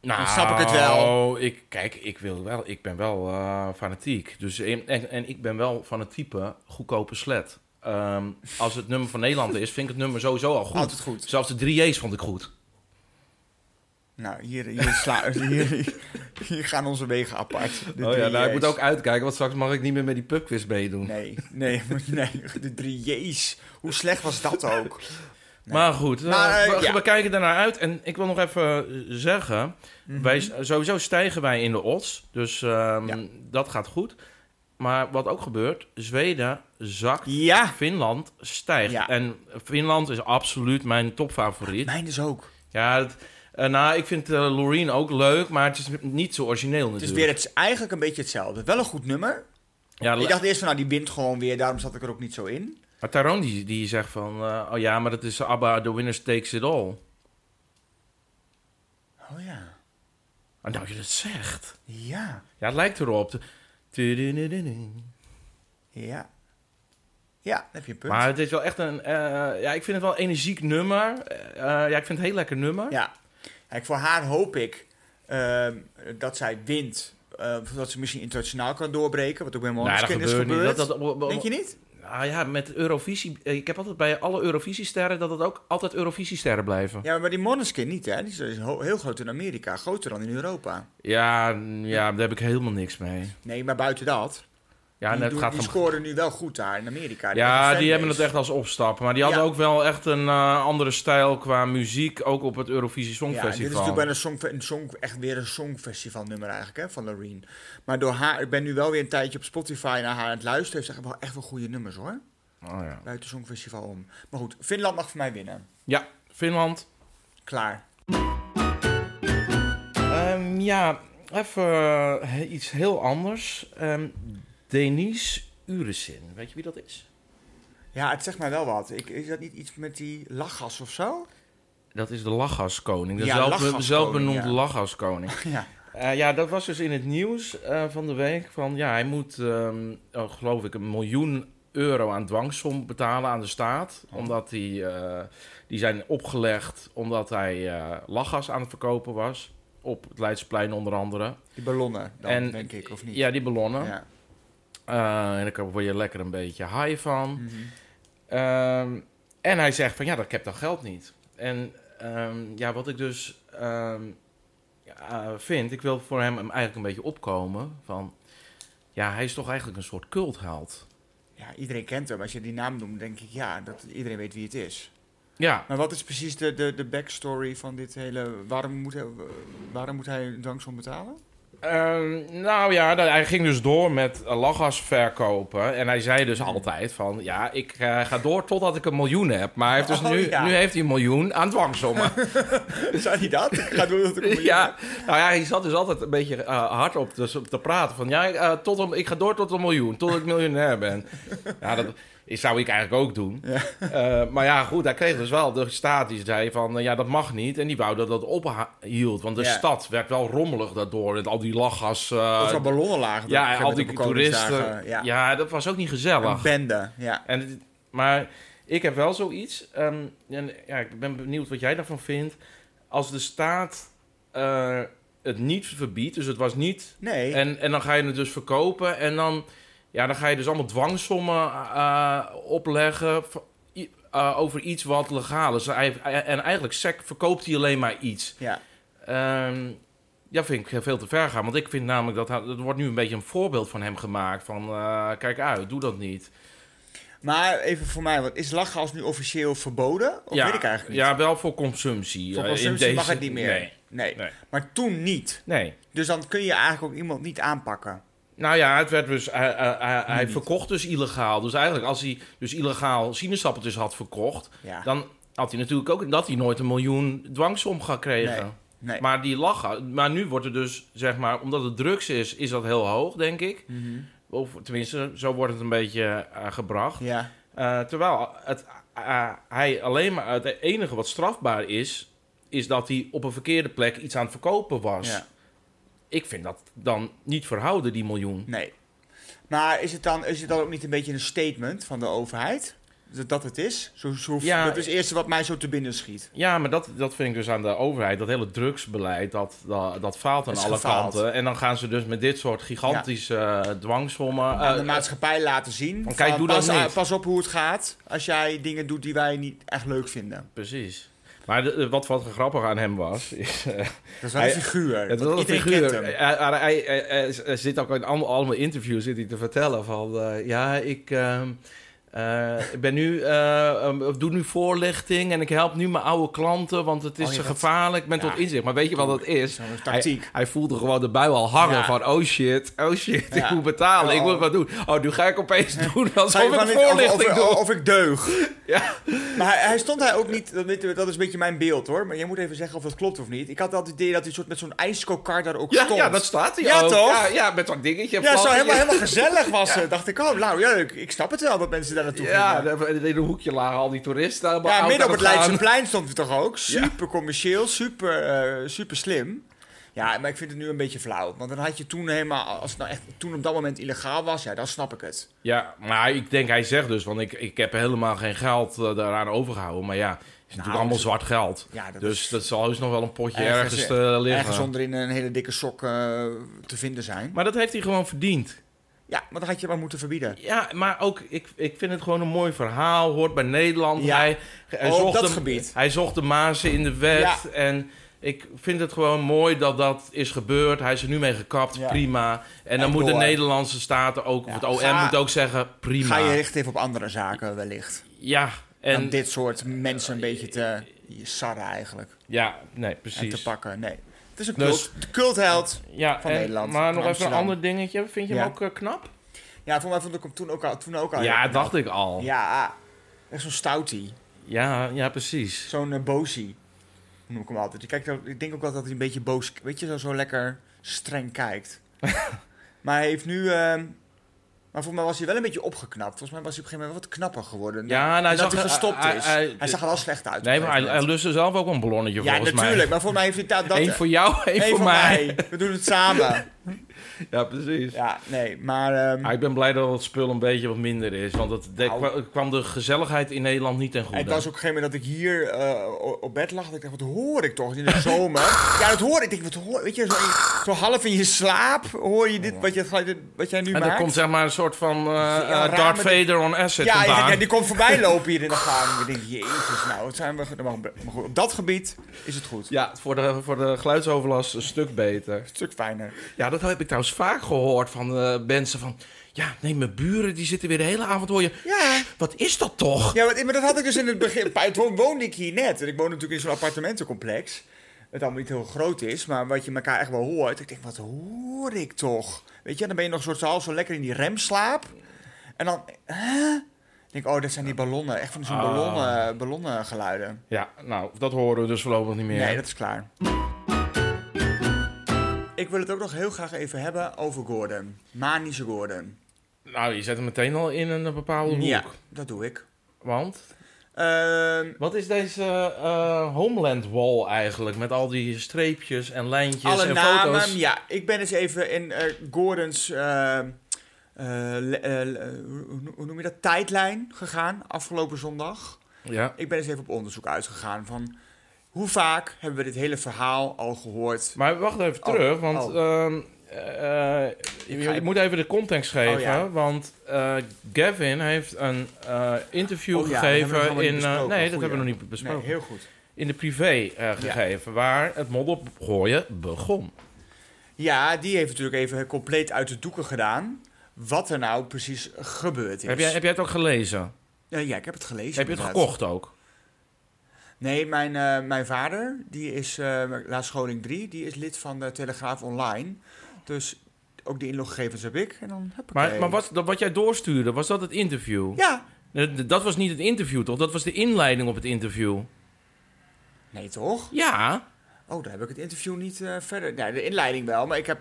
S1: Nou,
S2: Dan snap ik het wel.
S1: Ik, kijk, ik, wil wel, ik ben wel eh, fanatiek. Dus, in- en, en ik ben wel van het type goedkope slet. Ehm, als het nummer van Nederland is, vind ik het nummer sowieso al goed.
S2: Altijd goed.
S1: Zelfs de 3J's vond ik goed.
S2: Nou, hier, hier, sla, hier, hier gaan onze wegen apart. De
S1: oh ja,
S2: drie
S1: nou, ik
S2: J's.
S1: moet ook uitkijken, want straks mag ik niet meer met die pubquiz meedoen.
S2: Nee, nee, nee, de drie J's. Hoe slecht was dat ook?
S1: Maar goed, eh,
S2: Maar, eh,
S1: we,
S2: ja.
S1: we kijken daarnaar uit. En ik wil nog even eh, zeggen, wij, sowieso stijgen wij in de odds. Dus ehm,
S2: Mhm. Ja.
S1: dat gaat goed. Maar wat ook gebeurt, Zweden zakt
S2: Ja,
S1: Finland stijgt.
S2: Ja.
S1: En Finland is absoluut mijn topfavoriet.
S2: mijn is ook.
S1: Ja, het- eh, nou, ik vind eh Loreen ook leuk, maar het is niet zo origineel
S2: Het is
S1: natuurlijk.
S2: weer het, eigenlijk een beetje hetzelfde. Wel een goed nummer.
S1: Ja,
S2: Ik dacht eerst van, nou, die wint gewoon weer. Daarom zat ik er ook niet zo in.
S1: Maar Tyrone die, die zegt van, eh, oh ja, maar dat is ABBA, The Winner Takes It All.
S2: Oh ja.
S1: Ah, nou, je dat zegt.
S2: Ja.
S1: Ja, het lijkt erop. Tudududududum.
S2: Ja. Ja, dan heb je een punt.
S1: Maar het is wel echt een, eh, ja, ik vind het wel een energiek nummer. Eh, eh, ja, ik vind het heel lekker nummer.
S2: Ja. Kijk, voor haar hoop ik ehm, dat zij wint. Eh, dat ze misschien internationaal kan doorbreken. Wat ook bij
S1: Nou,
S2: Måneskin
S1: dat
S2: is
S1: gebeurt niet.
S2: gebeurd.
S1: Dat, dat,
S2: Denk je niet?
S1: Nou ja, met Eurovisie. eh, Ik heb altijd bij alle Eurovisie-sterren dat het ook altijd Eurovisie-sterren blijven. Ja,
S2: Ja, maar die Måneskin niet, hè. Die is is ho- heel groot in Amerika. Groter dan in Europa.
S1: ja, mm, ja, daar heb ik helemaal niks mee.
S2: Nee, maar buiten dat.
S1: Ja,
S2: die
S1: net
S2: doen-
S1: gaat
S2: die
S1: hem.
S2: scoren nu wel goed daar in Amerika.
S1: Ja, die hebben het
S2: fanbase.
S1: echt als opstap. Maar die hadden
S2: Ja.
S1: ook wel echt een eh, andere stijl qua muziek. Ook op het Eurovisie
S2: Ja, dit is
S1: Songfestival.
S2: natuurlijk bijna een song, een song, echt weer een songfestival nummer eigenlijk, hè, van Loreen. Maar door haar, ik ben nu wel weer een tijdje op Spotify naar haar aan het luisteren. Heeft ze echt wel, echt wel goede nummers hoor,
S1: Oh, ja.
S2: buiten songfestival om. Maar goed, Finland mag voor mij winnen.
S1: ja, Finland.
S2: Klaar.
S1: Ehm, ja, even eh, iets heel anders. Ehm Denise Uresin. Weet je wie dat is?
S2: Ja, het zegt mij wel wat. Ik, is dat niet iets met die lachgas of zo?
S1: Dat is de Lachgaskoning. De
S2: Ja,
S1: zelf,
S2: Lachgaskoning,
S1: zelfbenoemd
S2: ja.
S1: Lachgaskoning.
S2: ja.
S1: Eh, ja, dat was dus in het nieuws eh, van de week. Van ja, hij moet, ehm, oh, geloof ik, een miljoen euro aan dwangsom betalen aan de staat.
S2: Oh.
S1: Omdat die, eh, die zijn opgelegd omdat hij eh lachgas aan het verkopen was. Op het Leidseplein onder andere.
S2: Die ballonnen dan,
S1: En-
S2: denk ik, of niet?
S1: Ja, die ballonnen.
S2: Ja.
S1: Eh, en daar word je lekker een beetje high van.
S2: Mhm.
S1: Ehm, en hij zegt van ja, dat, ik heb dat geld niet. En ehm, ja, wat ik dus ehm, ja, vind, ik wil voor hem eigenlijk een beetje opkomen van ja, hij is toch eigenlijk een soort cultheld.
S2: ja, iedereen kent hem. Als je die naam noemt, denk ik, ja, dat iedereen weet wie het is.
S1: Ja,
S2: Maar wat is precies de, de, de backstory van dit hele... Waarom moet hij, waarom moet hij een danksom betalen?
S1: ehm, nou ja, dat- hij ging dus door met eh, lachgas verkopen. En hij zei dus altijd van ja, ik eh, ga door totdat ik een miljoen heb. Maar hij heeft dus
S2: Oh,
S1: nu,
S2: ja.
S1: nu heeft hij een miljoen aan dwangsommen.
S2: Zei hij dat? Ik ga doen dat ik een miljoen
S1: Ja,
S2: heb.
S1: nou ja, hij zat dus altijd een beetje eh, hard op dus op te praten. Van ja, ik, eh, tot een, ik ga door tot een miljoen, tot ik miljonair ben. ja, dat is- zou ik eigenlijk ook doen. Eh, maar ja, goed, hij kreeg dus wel de staat die zei van eh, ja, dat mag niet. En die wou dat dat ophield, want de
S2: Ja.
S1: stad werd wel rommelig daardoor. Met al die lachgas. eh,
S2: Overal ballonnen lagen. op een
S1: ja, en
S2: gegeven
S1: al
S2: moment
S1: die
S2: op Koningsdagen.
S1: toeristen. Ja.
S2: Ja.
S1: dat was ook niet
S2: Een
S1: gezellig.
S2: bende. Ja.
S1: En het- maar Ik heb wel zoiets. ehm, en ja, ik ben benieuwd wat jij daarvan vindt. Als de staat eh, het niet verbiedt, dus het was niet.
S2: Nee.
S1: En, en dan ga je het dus verkopen. En dan, ja, dan ga je dus allemaal dwangsommen eh, opleggen. v- i- eh, over iets wat legaal is. Hij- En eigenlijk sec, verkoopt hij alleen maar iets.
S2: ja.
S1: Ehm, ja, vind ik veel te ver gaan. Want ik vind namelijk dat hij- er wordt nu een beetje een voorbeeld van hem gemaakt. Van eh, kijk uit, doe dat niet.
S2: Maar even voor mij, wat is lachgas nu officieel verboden? Of weet ik eigenlijk niet.
S1: Ja, wel voor consumptie.
S2: voor
S1: eh, in
S2: consumptie mag
S1: deze-
S2: het niet meer.
S1: Nee.
S2: Nee.
S1: Nee.
S2: Maar toen niet.
S1: nee.
S2: Dus dan kun je eigenlijk ook iemand niet aanpakken.
S1: Nou ja, het werd dus, hij- hij- hij- hij
S2: niet.
S1: verkocht dus illegaal. Dus eigenlijk als hij dus illegaal sinaasappeltjes had verkocht...
S2: Ja.
S1: dan had hij natuurlijk ook dat hij nooit een miljoen dwangsom gekregen.
S2: nee. Eh.
S1: Maar die lachen. Maar nu wordt er dus, zeg maar, omdat het drugs is, is dat heel hoog, denk ik.
S2: Mhm.
S1: Of tenminste, zo wordt het een beetje eh, gebracht.
S2: Ja.
S1: Eh, terwijl het, eh, hij alleen maar het enige wat strafbaar is, is dat hij op een verkeerde plek iets aan het verkopen was.
S2: ja.
S1: Ik vind dat dan niet verhouden, die miljoen.
S2: Nee. Maar is het, dan, is het dan ook niet een beetje een statement van de overheid? Dat, dat het is? Zo, zo,
S1: Ja,
S2: dat is het eerste wat mij zo te binnen schiet.
S1: Ja, maar dat, dat vind ik dus aan de overheid. Dat hele drugsbeleid, dat, dat, dat faalt aan
S2: Is
S1: alle
S2: gefaald.
S1: kanten. En dan gaan ze dus met dit soort gigantische eh, dwangsommen.
S2: Aan
S1: eh,
S2: de maatschappij laten zien.
S1: van, kijk, doe dat
S2: pas,
S1: niet.
S2: ah, pas op hoe het gaat als jij dingen doet die wij niet echt leuk vinden.
S1: precies. Maar de- de- wat, wat grappig aan hem was, is, eh,
S2: Dat is wel een
S1: Hij-
S2: figuur.
S1: Het
S2: want
S1: was een
S2: iedereen
S1: figuur.
S2: kent hem.
S1: Hij, hij- hij- hij- hij- hij zit ook in allemaal, allemaal interviews zit hij te vertellen van... eh, ja, ik ehm, eh, ik ben nu, eh, ehm, ik doe nu voorlichting en ik help nu mijn oude klanten... want het is
S2: Oh, ja, dat-
S1: gevaarlijk, ik ben
S2: ja.
S1: tot inzicht. Maar weet je wat dat is?
S2: Zo'n
S1: Hij,
S2: tactiek.
S1: hij voelde gewoon de bui al hangen
S2: Ja.
S1: van... oh shit, oh shit, ik
S2: Ja.
S1: moet betalen, ik
S2: Oh.
S1: moet wat doen. Oh, nu ga ik opeens doen
S2: Ga je
S1: alsof
S2: van
S1: ik
S2: dit- of-
S1: voorlichting
S2: of,
S1: doe.
S2: of, ik deug.
S1: Ja.
S2: Maar hij, hij stond hij ook niet... Dat, weet- dat is een beetje mijn beeld hoor. Maar jij moet even zeggen of dat klopt of niet. Ik had altijd het idee dat hij soort met zo'n ijskokar daar ook
S1: Ja,
S2: stond.
S1: ja, dat staat hij
S2: Ja,
S1: ook.
S2: toch?
S1: Ja, ja, met dat dingetje.
S2: Ja, zo
S1: vlaggetje.
S2: helemaal, helemaal gezellig was het. Dacht ik, oh, nou ja, ik, ik snap het wel dat mensen daar naartoe
S1: Ja,
S2: gingen.
S1: daar- in een hoekje lagen al die toeristen. allemaal
S2: Ja,
S1: oud
S2: midden
S1: aan
S2: op het
S1: gaan.
S2: Leidseplein stond het toch ook. Super commercieel, super, eh, super slim. Ja, maar ik vind het nu een beetje flauw. Want dan had je toen helemaal, als het nou echt toen op dat moment illegaal was, ja, dan snap ik het.
S1: Ja, maar ik denk, hij zegt dus, want ik, ik heb helemaal geen geld eh, daaraan overgehouden. Maar ja, het is natuurlijk allemaal
S2: dat is-
S1: zwart geld.
S2: Nou, dus- Ja, dat
S1: dus
S2: is
S1: dat zal heus nog wel een potje
S2: ergens,
S1: ergens,
S2: eh,
S1: eh, liggen.
S2: ergens onderin een hele dikke sok eh, te vinden zijn.
S1: Maar dat heeft hij gewoon verdiend.
S2: Ja, maar dat had je maar moeten verbieden.
S1: Ja, maar ook, ik, ik vind het gewoon een mooi verhaal. Hoort bij Nederland.
S2: Ja.
S1: Hij, hij
S2: Oh, op
S1: zocht
S2: dat
S1: de,
S2: gebied.
S1: Hij zocht de mazen in de wet. En ik vind het gewoon mooi dat dat is gebeurd. Hij is er nu mee gekapt.
S2: Ja.
S1: Prima. En dan
S2: En
S1: moeten
S2: door.
S1: de Nederlandse staten ook,
S2: Ja.
S1: of het OM
S2: Ga-
S1: moet ook zeggen, prima.
S2: Ga je richten even op andere zaken wellicht.
S1: Ja,
S2: En
S1: en...
S2: dit soort mensen een beetje te sarren eigenlijk.
S1: Ja, nee,
S2: En
S1: precies.
S2: te pakken, nee. Het is een
S1: Dus-
S2: cult, cultheld.
S1: Ja,
S2: van
S1: en-
S2: Nederland, van
S1: Maar nog even een
S2: Amsterdam.
S1: ander dingetje. Vind je
S2: Ja.
S1: hem ook eh, knap?
S2: Ja, voor mij vond ik hem toen ook al, toen ook al
S1: Ja,
S2: heel knap.
S1: dacht ik al. Ja,
S2: Ja, ah, echt zo'n stoutie.
S1: ja, precies.
S2: Zo'n eh, bozie. Noem ik hem altijd. Ik, kijk, dan- ik denk ook wel dat hij een beetje boos... Weet je, zo, zo lekker streng kijkt. maar hij heeft nu... ehm, maar voor mij was hij wel een beetje opgeknapt. Volgens mij was hij op een gegeven moment wat knapper geworden.
S1: Ja, nou, hij
S2: En dat
S1: zag
S2: hij
S1: er-
S2: gestopt
S1: hij-
S2: is.
S1: hij-
S2: Hij, zag er wel slecht uit. op
S1: Nee,
S2: een
S1: maar hij,
S2: gegeven
S1: hij lustte zelf ook een ballonnetje
S2: moment.
S1: volgens
S2: Ja,
S1: mij.
S2: natuurlijk. Maar voor mij heeft hij dat... dat
S1: Eén voor jou, één voor mij.
S2: We doen het samen.
S1: Ja, precies.
S2: Ja, nee. Maar ehm,
S1: Ah, ik ben blij dat het spul een beetje wat minder is. Want het de-
S2: Nou.
S1: kwa- kwam de gezelligheid in Nederland niet ten goede.
S2: Het was ook op een gegeven moment dat ik hier eh, o- op bed lag. Dat ik dacht, wat hoor ik toch in de zomer? ja, dat hoor ik. Ik denk, wat hoor Weet je, zo, in- zo half in je slaap hoor je dit, wat, je, wat jij nu
S1: en er
S2: maakt.
S1: komt zeg maar een soort van eh
S2: Ja,
S1: eh,
S2: raar,
S1: Darth
S2: maar die-
S1: Vader on acid
S2: ja, ja,
S1: vandaan.
S2: ja, die komt voorbij lopen hier in de gang. Ik denk, jezus, nou, wat zijn we... ge- Maar goed, op dat gebied is het goed.
S1: Ja, voor de, voor de geluidsoverlast een stuk beter.
S2: Een stuk fijner.
S1: Ja, dat heb ik trouwens vaak gehoord van eh, mensen van... Ja, nee, mijn buren die zitten weer de hele avond hoor je...
S2: Ja,
S1: Wat is dat toch?
S2: ja maar, maar dat had ik dus in het begin... pa- Toen woonde ik hier net. En ik woon natuurlijk in zo'n appartementencomplex. Het allemaal niet heel groot is, maar wat je elkaar echt wel hoort. Ik denk, wat hoor ik toch? Weet je, dan ben je nog soort zo, zo lekker in die remslaap. En dan, hè? Ik denk, oh, dat zijn die ballonnen. Echt van zo'n
S1: Ah.
S2: ballonnen, ballonnengeluiden.
S1: Ja, nou, dat horen we dus voorlopig niet meer.
S2: Nee, dat is klaar. Ik wil het ook nog heel graag even hebben over Gordon. Manische Gordon.
S1: Nou, je zet hem meteen al in een bepaalde hoek.
S2: Ja, dat doe ik.
S1: Want,
S2: Ehm,
S1: wat is deze eh, Homeland Wall eigenlijk? Met al die streepjes en lijntjes
S2: alle
S1: en
S2: namen.
S1: foto's.
S2: Ja, ik ben eens even in eh, Gordons eh, eh, eh, le- eh, le- hoe- hoe noem je dat, tijdlijn gegaan afgelopen zondag.
S1: Ja.
S2: Ik ben eens even op onderzoek uitgegaan van hoe vaak hebben we dit hele verhaal al gehoord.
S1: Maar wacht even
S2: Oh,
S1: terug, want
S2: oh.
S1: ehm, eh, eh, je,
S2: ga
S1: je
S2: even-
S1: moet even de context geven.
S2: Oh, ja.
S1: Want eh, Gavin heeft een eh, interview
S2: Oh ja, dat hebben we
S1: gegeven
S2: nog helemaal
S1: in.
S2: niet
S1: eh,
S2: besproken.
S1: nee, dat
S2: Goeie.
S1: hebben we nog niet besproken.
S2: Nee, heel goed.
S1: In de privé eh, gegeven, waar het modder gooien begon.
S2: Ja, die heeft natuurlijk even compleet uit de doeken gedaan wat er nou precies gebeurd is.
S1: Heb jij, heb jij het ook gelezen?
S2: Eh, ja, ik heb het gelezen.
S1: heb je het
S2: inderdaad.
S1: gekocht ook?
S2: Nee, mijn, eh, mijn vader, die is eh laatst scholing 3, die is lid van de Telegraaf Online. Dus ook die inloggegevens heb ik. En dan heb ik
S1: Maar, maar wat, dat, wat jij doorstuurde, was dat het interview?
S2: Ja.
S1: Eh, d- Dat was niet het interview, toch? Dat was de inleiding op het interview.
S2: Nee, toch?
S1: Ja,
S2: Oh, daar heb ik het interview niet eh, verder. Nee, de inleiding wel, maar ik heb...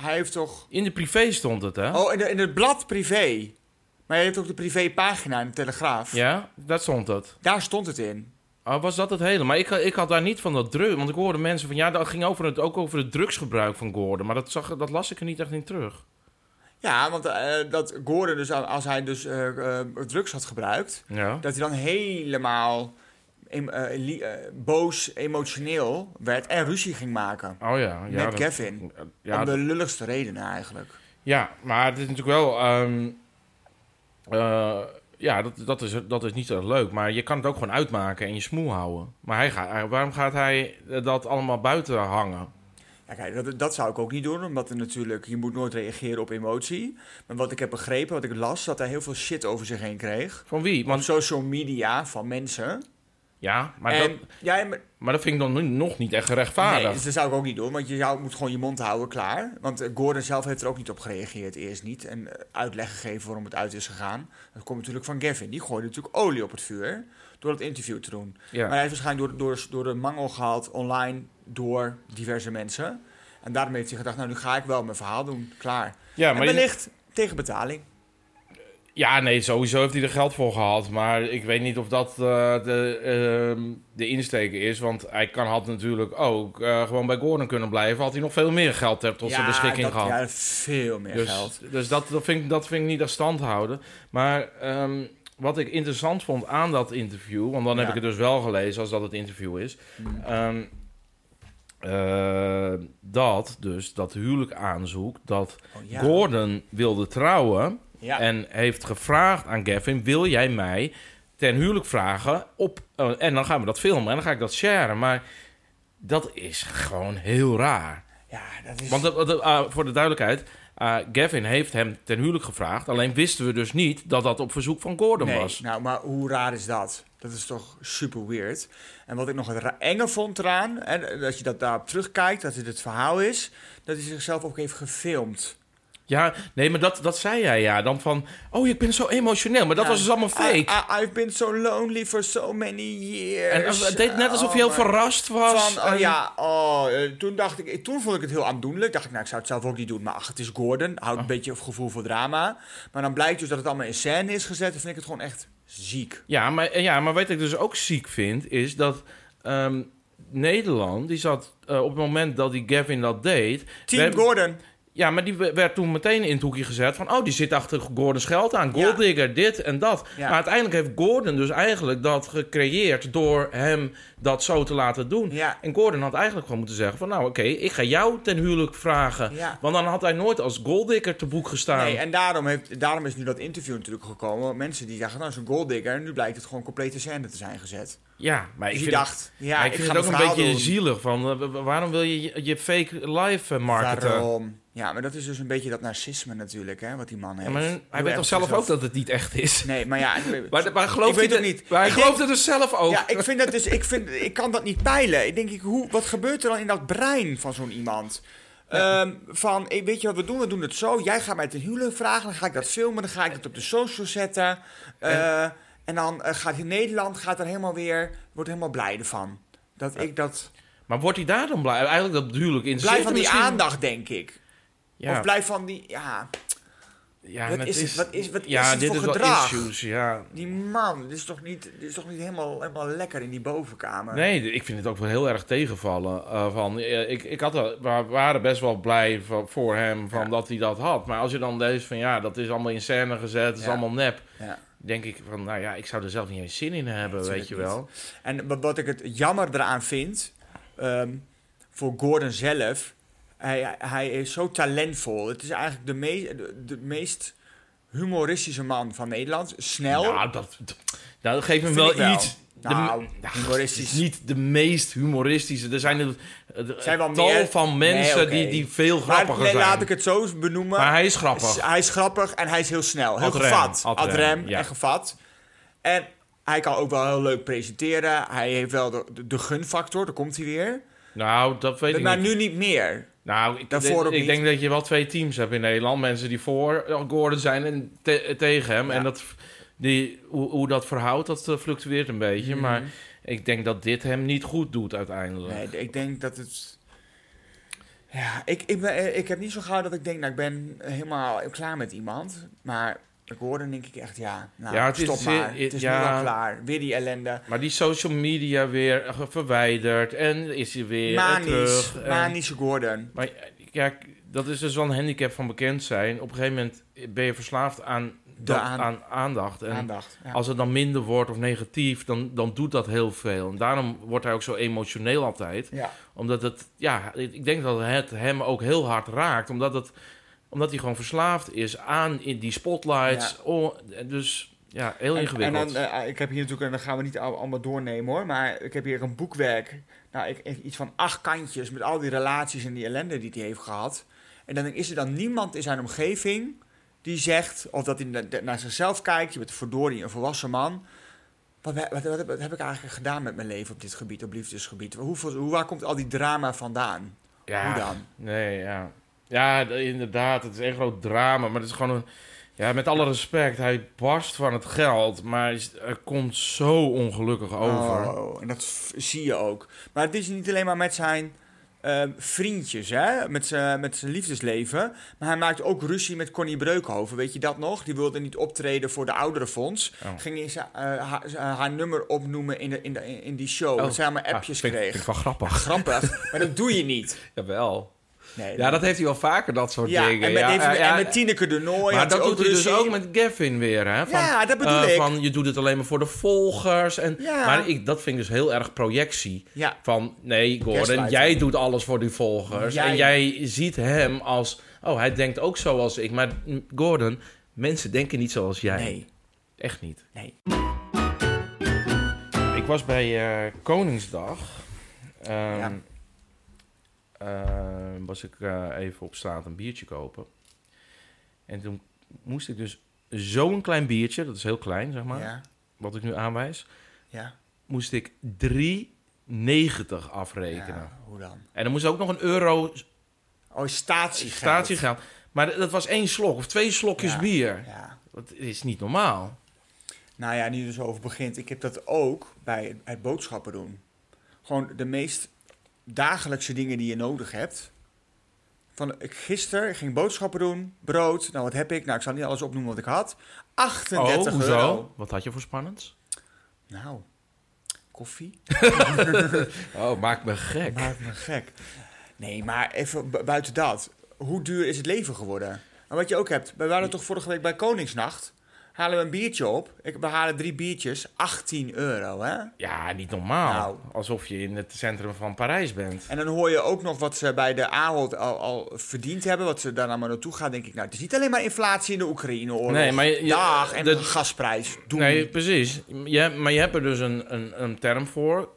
S2: Hij heeft toch...
S1: in de privé stond het, hè?
S2: Oh, in, de- in het blad privé. Maar hij heeft ook de privépagina in de Telegraaf.
S1: Ja, dat stond het.
S2: Daar stond het in.
S1: Oh, was dat het hele? Maar ik, ik had daar niet van dat druk. Want ik hoorde mensen van ja, dat ging over het, ook over het drugsgebruik van Gordon. Maar dat, zag, dat las ik er niet echt in terug.
S2: Ja, want eh, dat Gordon, dus, als hij dus eh, eh, drugs had gebruikt...
S1: Ja.
S2: dat hij dan helemaal em- eh, li- eh, boos, emotioneel werd en ruzie ging maken.
S1: Oh ja, ja.
S2: met
S1: dat-
S2: Kevin.
S1: Ja,
S2: Om de lulligste redenen eigenlijk.
S1: ja, maar het is natuurlijk wel. ehm, eh, ja, dat, dat, is, dat is niet erg leuk. Maar je kan het ook gewoon uitmaken en je smoel houden. Maar hij gaat, hij- waarom gaat hij eh, dat allemaal buiten hangen?
S2: Ja, kijk, dat, dat zou ik ook niet doen, omdat er natuurlijk, je moet nooit reageren op emotie. Maar wat ik heb begrepen, wat ik las, dat hij heel veel shit over zich heen kreeg.
S1: Van wie?
S2: Op
S1: Want,
S2: social media van mensen.
S1: ja, maar,
S2: en,
S1: dat,
S2: ja, maar
S1: maar dat vind ik dan nu nog niet echt gerechtvaardigd.
S2: Nee, dus dat zou ik ook niet doen, want je zou, moet gewoon je mond houden, klaar. Want eh, Gordon zelf heeft er ook niet op gereageerd, eerst niet. En eh, uitleg gegeven waarom het uit is gegaan. Dat komt natuurlijk van Gavin. Die gooide natuurlijk olie op het vuur door dat interview te doen.
S1: ja.
S2: Maar hij is waarschijnlijk door, door, door de mangel gehaald online door diverse mensen. En daarom heeft hij gedacht, nou nu ga ik wel mijn verhaal doen, klaar.
S1: ja,
S2: en
S1: maar je-
S2: wellicht tegen betaling.
S1: Ja, nee, sowieso heeft hij er geld voor gehad. Maar ik weet niet of dat eh, de, ehm, de insteek is. Want hij kan, had natuurlijk ook eh, gewoon bij Gordon kunnen blijven. Had hij nog veel meer geld ter- tot zijn beschikking
S2: dat,
S1: gehad.
S2: Ja, veel meer
S1: dus
S2: geld.
S1: dus dat, dat, vind ik, dat vind ik niet aan stand houden. Maar ehm, wat ik interessant vond aan dat interview... want dan heb ik
S2: Ja.
S1: het dus wel gelezen als dat het interview is...
S2: Mm.
S1: ehm, eh, dat dus, dat huwelijk aanzoek... dat
S2: Oh, ja.
S1: Gordon wilde trouwen...
S2: Ja.
S1: En heeft gevraagd aan Gavin: wil jij mij ten huwelijk vragen? Op, eh, en dan gaan we dat filmen en dan ga ik dat sharen. Maar dat is gewoon heel raar.
S2: ja, dat is...
S1: Want dat- dat- eh, voor de duidelijkheid. eh, Gavin heeft hem ten huwelijk gevraagd. Alleen wisten we dus niet dat dat op verzoek van Gordon
S2: nee,
S1: was.
S2: Nou, maar hoe raar is dat? Dat is toch super weird. En wat ik nog het ra- enge vond eraan, en dat je dat daarop terugkijkt, dat dit het verhaal is, dat hij zichzelf ook heeft gefilmd.
S1: Ja, nee, maar dat, dat zei jij ja. Dan van, oh, ik ben zo emotioneel. Maar dat
S2: Ja. Ah,
S1: was dus allemaal fake.
S2: Nou, I, I- I've been so lonely for so many
S1: en
S2: years.
S1: het deed net alsof je heel
S2: Oh, maar-
S1: verrast was.
S2: Van, oh
S1: en-
S2: ja, oh, eh, toen dacht ik, toen vond ik het heel aandoenlijk. Dacht ik, nou, ik zou het zelf ook niet doen. Maar ach, het is Gordon. Houdt
S1: Ah.
S2: een beetje een gevoel voor drama. Maar dan blijkt dus dat het allemaal in scène is gezet. Dan vind ik het gewoon echt ziek.
S1: Ja, maar, ja, maar wat ik dus ook ziek vind, is dat ehm, Nederland, die zat eh, op het moment dat die Gavin dat deed.
S2: Team
S1: werd-
S2: Gordon.
S1: Ja, maar die we- werd toen meteen in het hoekje gezet van, oh, die zit achter Gordon's geld aan.
S2: Ja.
S1: Golddigger, dit en dat.
S2: Ja.
S1: Maar uiteindelijk heeft Gordon dus eigenlijk dat gecreëerd door hem dat zo te laten doen.
S2: Ja.
S1: En Gordon had eigenlijk gewoon moeten zeggen van, nou oké, ik ga jou ten huwelijk vragen.
S2: Ja.
S1: Want dan had hij nooit als Golddigger te boek gestaan.
S2: Nee, en daarom, heeft, daarom is nu dat interview natuurlijk gekomen. Mensen die dachten, nou, zo'n golddigger. En nu blijkt het gewoon complete scène te zijn gezet.
S1: Ja, maar ik
S2: dus
S1: vind
S2: je
S1: het-
S2: dacht, ja,
S1: Maar
S2: ik,
S1: ik vind
S2: ga
S1: het ook een beetje
S2: ziek
S1: zielig van eh, wa- waarom wil je je je fake live eh, marketen?
S2: Waarom? Ja, maar dat is dus een beetje dat narcisme natuurlijk, hè, wat die man heeft.
S1: Ja, maar
S2: Heel
S1: hij
S2: erg
S1: weet toch zelf
S2: zichzelf-
S1: ook dat het niet echt is.
S2: Nee, maar ja... en-
S1: Maar, maar gelooft
S2: Ik weet
S1: hij
S2: het
S1: de-
S2: niet.
S1: Maar hij
S2: Ik
S1: gelooft het dus zelf ook.
S2: Ja, ik vind dat dus, ik, vind, ik kan dat niet peilen. Ik denk, ik, hoe, wat gebeurt er dan in dat brein van zo'n iemand? Ehm, van, eh, weet je wat we doen? We doen het zo. Jij gaat mij ten huwelijk vragen, dan ga ik dat filmen, dan ga ik dat op de social zetten. Eh, en, dan eh, gaat in Nederland, gaat er helemaal weer, wordt helemaal blij ervan. Dat ik dat...
S1: Maar wordt hij daar dan blij? Eigenlijk dat duidelijk in
S2: Blij van die aandacht, denk ik.
S1: Ja.
S2: Of blij van die, ja...
S1: ja,
S2: Wat
S1: en het
S2: is het? Wat is- wat
S1: ja,
S2: is het
S1: dit
S2: voor
S1: is wel
S2: gedrag?
S1: issues, ja.
S2: Die man, dit is toch niet, dit is toch niet helemaal, helemaal lekker in die bovenkamer?
S1: Nee, d- ik vind het ook wel heel erg tegenvallen. eh, van, eh, ik, ik had, wel- we waren best wel blij va- voor hem van
S2: Ja.
S1: dat hij dat had. Maar als je dan leest van ja, dat is allemaal in scène gezet, dat is
S2: Ja.
S1: allemaal nep.
S2: Ja.
S1: Denk ik van, nou ja, ik zou er zelf niet eens zin in hebben,
S2: Nee,
S1: weet je
S2: natuurlijk
S1: wel.
S2: En wat, wat ik het jammer eraan vind, ehm, voor Gordon zelf, hij, hij is zo talentvol. Het is eigenlijk de, me- de, de meest humoristische man van Nederland. Snel.
S1: Nou, dat, dat, nou, dat geeft hem
S2: Vind
S1: wel,
S2: ik wel.
S1: iets. De-
S2: Nou,
S1: Ja,
S2: humoristisch.
S1: het is niet de meest humoristische. Er zijn er, er
S2: Zijn wel
S1: tal
S2: meer.
S1: van mensen
S2: Nee, oké.
S1: die, die veel
S2: Maar
S1: grappiger
S2: nee,
S1: zijn.
S2: laat ik het zo benoemen.
S1: maar hij is grappig.
S2: S- Hij is grappig en hij is heel snel. Heel
S1: Ad rem,
S2: gevat.
S1: ad
S2: Ad
S1: rem,
S2: rem
S1: ja.
S2: en gevat. En hij kan ook wel heel leuk presenteren. Hij heeft wel de, de, de gunfactor, daar komt hij weer.
S1: nou, dat weet ik
S2: maar
S1: niet.
S2: nu niet meer.
S1: Nou, ik,
S2: daarvoor ook
S1: ik
S2: niet.
S1: denk dat je wel twee teams hebt in Nederland. Mensen die voor Gordon zijn en te- tegen hem.
S2: Ja.
S1: En dat, die, hoe, hoe dat verhoudt, dat eh, fluctueert een beetje.
S2: Mhm.
S1: Maar ik denk dat dit hem niet goed doet uiteindelijk.
S2: Nee, ik denk dat het... Ja, ik, ik, ben, eh, ik heb niet zo gauw dat ik denk, nou, ik ben helemaal klaar met iemand. Maar ik hoor dan denk ik echt, ja, nou,
S1: Ja, het is-
S2: stop maar.
S1: het-
S2: Het is nu
S1: ja.
S2: al klaar. Weer die ellende.
S1: Maar die social media weer eh, verwijderd. En is hij weer eh,
S2: Manisch.
S1: terug. En-
S2: Manische Gordon.
S1: Maar eh, kijk, dat is dus wel een handicap van bekend zijn. Op een gegeven moment ben je verslaafd aan, dat,
S2: aan-
S1: aan, aandacht. En
S2: Aandacht. Ja.
S1: als het dan minder wordt of negatief, dan, dan doet dat heel veel. En daarom wordt hij ook zo emotioneel altijd.
S2: ja.
S1: Omdat het, ja, ik denk dat het hem ook heel hard raakt. Omdat, het, omdat hij gewoon verslaafd is aan in die spotlights. Oh, dus ja, heel
S2: En-
S1: ingewikkeld.
S2: En, dan, eh, ik heb hier natuurlijk, en dat gaan we niet al- allemaal doornemen hoor, maar ik heb hier een boekwerk. Nou, ik, ik- iets van acht kantjes met al die relaties en die ellende die hij heeft gehad. En dan denk ik, is er dan niemand in zijn omgeving die zegt, of dat hij na- de- naar zichzelf kijkt, je bent verdorie een volwassen man. Wat, we- wat, wat- wat heb ik eigenlijk gedaan met mijn leven op dit gebied, op liefdesgebied? Hoeveel, hoe, waar komt al die drama vandaan?
S1: ja,
S2: Hoe dan?
S1: Nee, ja. Ja, d- inderdaad. Het is een groot drama. Maar het is gewoon een... Ja, met alle respect. Hij barst van het geld. Maar hij is- hij komt zo ongelukkig over.
S2: Oh, en dat f- zie je ook. Maar het is niet alleen maar met zijn ehm, vriendjes, hè? Met zijn met zijn liefdesleven. Maar hij maakt ook ruzie met Connie Breukhoven. Weet je dat nog? Die wilde niet optreden voor de ouderenfonds.
S1: Oh.
S2: Ging eens eh, haar, z- haar nummer opnoemen in, de, in, de, in die show.
S1: Oh.
S2: Dat zij allemaal appjes
S1: Ah, vind ik-
S2: kreeg.
S1: Vind ik wel grappig.
S2: Grappig, maar dat doe je niet.
S3: Jawel.
S2: Nee,
S3: Ja, dat heeft hij wel vaker, dat soort
S2: Ja,
S3: dingen.
S2: en met,
S3: ja,
S2: even-
S3: ja, ja.
S2: en met Tineke de Nooi.
S1: maar
S2: had
S1: dat
S2: hij
S1: doet hij dus
S2: ruzie.
S1: ook met Gavin weer, hè? Van,
S2: Ja, dat bedoel
S1: eh,
S2: ik.
S1: Van, je doet het alleen maar voor de volgers. En,
S2: Ja.
S1: Maar ik, dat vind ik dus heel erg projectie.
S2: Ja,
S1: Van, nee, Gordon,
S2: Gaslighting.
S1: jij doet alles voor die volgers.
S2: Jij.
S1: En jij ziet hem als... Oh, hij denkt ook zoals ik. Maar mm, Gordon, mensen denken niet zoals jij.
S2: nee.
S1: Echt niet.
S2: Nee.
S1: Ik was bij eh, Koningsdag. Ehm,
S2: Ja.
S1: ehm, was ik eh, even op straat een biertje kopen. En toen moest ik dus zo'n klein biertje, dat is heel klein zeg maar,
S2: Ja,
S1: wat ik nu aanwijs,
S2: ja.
S1: moest ik 3,90 afrekenen.
S2: ja, hoe dan?
S1: En dan moest ook nog een euro
S2: Oh, statiegeld.
S1: statie gaan. Maar dat was één slok of twee slokjes
S2: Ja.
S1: bier.
S2: Ja.
S1: Dat is niet normaal.
S2: Nou ja, nu je er zo over begint. Ik heb dat ook bij het boodschappen doen. Gewoon de meest dagelijkse dingen die je nodig hebt. Van, ik, gisteren ik ging boodschappen doen, brood. Nou, wat heb ik? Nou, ik zal niet alles opnoemen wat ik had. 38
S1: oh, hoezo?
S2: euro.
S1: Wat had je voor spannends?
S2: Nou, koffie.
S3: Oh, maakt me gek.
S2: Maakt me gek. Nee, maar even bu- buiten dat. Hoe duur is het leven geworden? En wat je ook hebt, we waren toch vorige week bij Koningsnacht. Halen we een biertje op. Ik, we halen drie biertjes. 18 euro, hè?
S1: Ja, niet normaal.
S2: Nou.
S1: Alsof je in het centrum van Parijs bent.
S2: En dan hoor je ook nog wat ze bij de AHOD al, al verdiend hebben. Wat ze daar nou maar naartoe gaan, denk ik. Nou, het is niet alleen maar inflatie in de Oekraïne-oorlog.
S1: Nee, maar je- je-
S2: Dag, en de
S1: dat-
S2: gasprijs. Doen.
S1: Nee, precies. Je, hebt- maar je hebt er dus een, een, een term voor,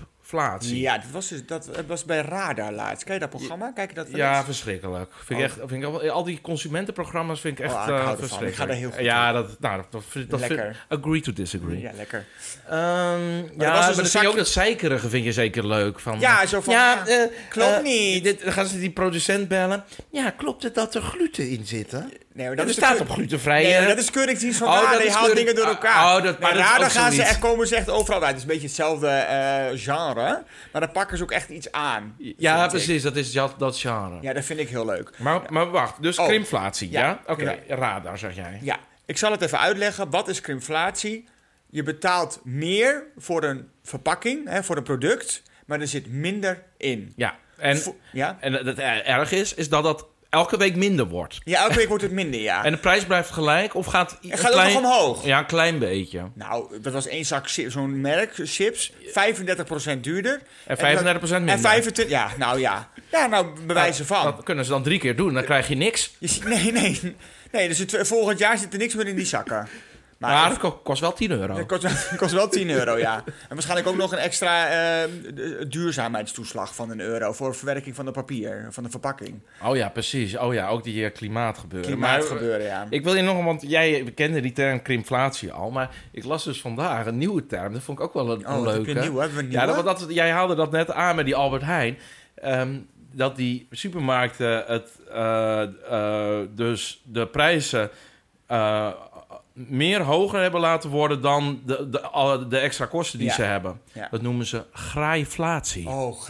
S1: krimpflatie.
S2: Ja, dat was, dus, dat was bij Radar laatst. Ken je dat programma? Kijk je dat wel
S1: Ja,
S2: eens?
S1: verschrikkelijk. Vind ik
S2: Oh.
S1: echt, vind ik, al- al die consumentenprogramma's vind ik echt
S2: Oh, ik
S1: eh,
S2: hou ervan.
S1: verschrikkelijk.
S2: Ik ga er heel goed
S1: Ja, dat, nou, dat, dat, dat
S2: Lekker.
S1: vind- agree to disagree.
S2: Ja, lekker.
S1: Ehm, ja,
S2: was dus
S1: maar dan
S2: een
S1: vind
S2: zakje-
S1: je ook dat zeikerige vind je zeker leuk. Van,
S2: Ja, zo van, ja,
S1: eh,
S2: klopt
S1: eh,
S2: niet.
S1: Dit, dan gaan ze die producent bellen. Ja, klopt het dat er gluten in zitten?
S2: Nee, maar
S1: Dat
S2: is de
S1: staat
S2: keur-
S1: op glutenvrije.
S2: Nee, maar dat is keuringsdienst van
S1: Oh,
S2: Radar.
S1: dat
S2: Die
S1: is
S2: haalt
S1: keuring-
S2: dingen door
S1: Ah,
S2: elkaar.
S1: oh, dat- maar
S2: maar
S1: dat is
S2: Radar
S1: ook
S2: gaan ze
S1: zoiets.
S2: echt komen ze echt overal uit. Het is een beetje hetzelfde eh, genre. Maar dan pakken ze ook echt iets aan.
S1: ja,
S2: vind ik.
S1: precies. Dat is dat, dat genre.
S2: Ja, dat vind ik heel leuk.
S1: Maar, maar wacht, dus
S2: Oh.
S1: krimflatie, ja?
S2: Ja.
S1: Oké, radar, zeg jij.
S2: Ja, ik zal het even uitleggen. Wat is krimflatie? Je betaalt meer voor een verpakking, hè, voor een product, maar er zit minder in.
S1: Ja, en,
S2: Vo- ja?
S1: en het erg is, is dat dat elke week minder wordt.
S2: ja, elke week wordt het minder, ja.
S1: En de prijs blijft gelijk of gaat...
S2: En gaat het nog omhoog?
S1: Ja, een klein beetje.
S2: Nou, dat was één zak chi- zo'n merk, chips, 35% duurder.
S1: En 35%
S2: En,
S1: minder.
S2: en 25, ja, nou ja. Ja, nou, bewijzen van.
S1: Dat kunnen ze dan drie keer doen, dan krijg je niks.
S2: Je ziet, nee, nee. Nee, dus het, volgend jaar zit er niks meer in die zakken.
S1: Maar,
S2: Maar
S1: dat
S2: het,
S1: ko- kost wel 10 euro.
S2: het kost, het kost wel 10 euro, ja. En waarschijnlijk ook nog een extra eh, d- duurzaamheidstoeslag van een euro... voor verwerking van het papier, van de verpakking.
S1: Oh ja, precies. Oh ja, ook die eh, klimaatgebeuren. Maar, eh,
S2: Klimaatgebeuren, ja.
S1: Ik wil je nog, want jij eh, kende die term krimflatie al, maar ik las dus vandaag een nieuwe term. Dat vond ik ook wel een, een
S2: oh, heb
S1: leuke.
S2: je een nieuwe? Hebben we een
S1: Ja,
S2: nieuwe?
S1: dat, want dat, jij haalde dat net aan met die Albert Heijn. Ehm, dat die supermarkten het, eh, eh, dus de prijzen eh, meer hoger hebben laten worden dan de, de, alle- de extra kosten die
S2: Ja.
S1: ze hebben.
S2: Ja.
S1: Dat noemen ze graaiflatie.
S2: Oh,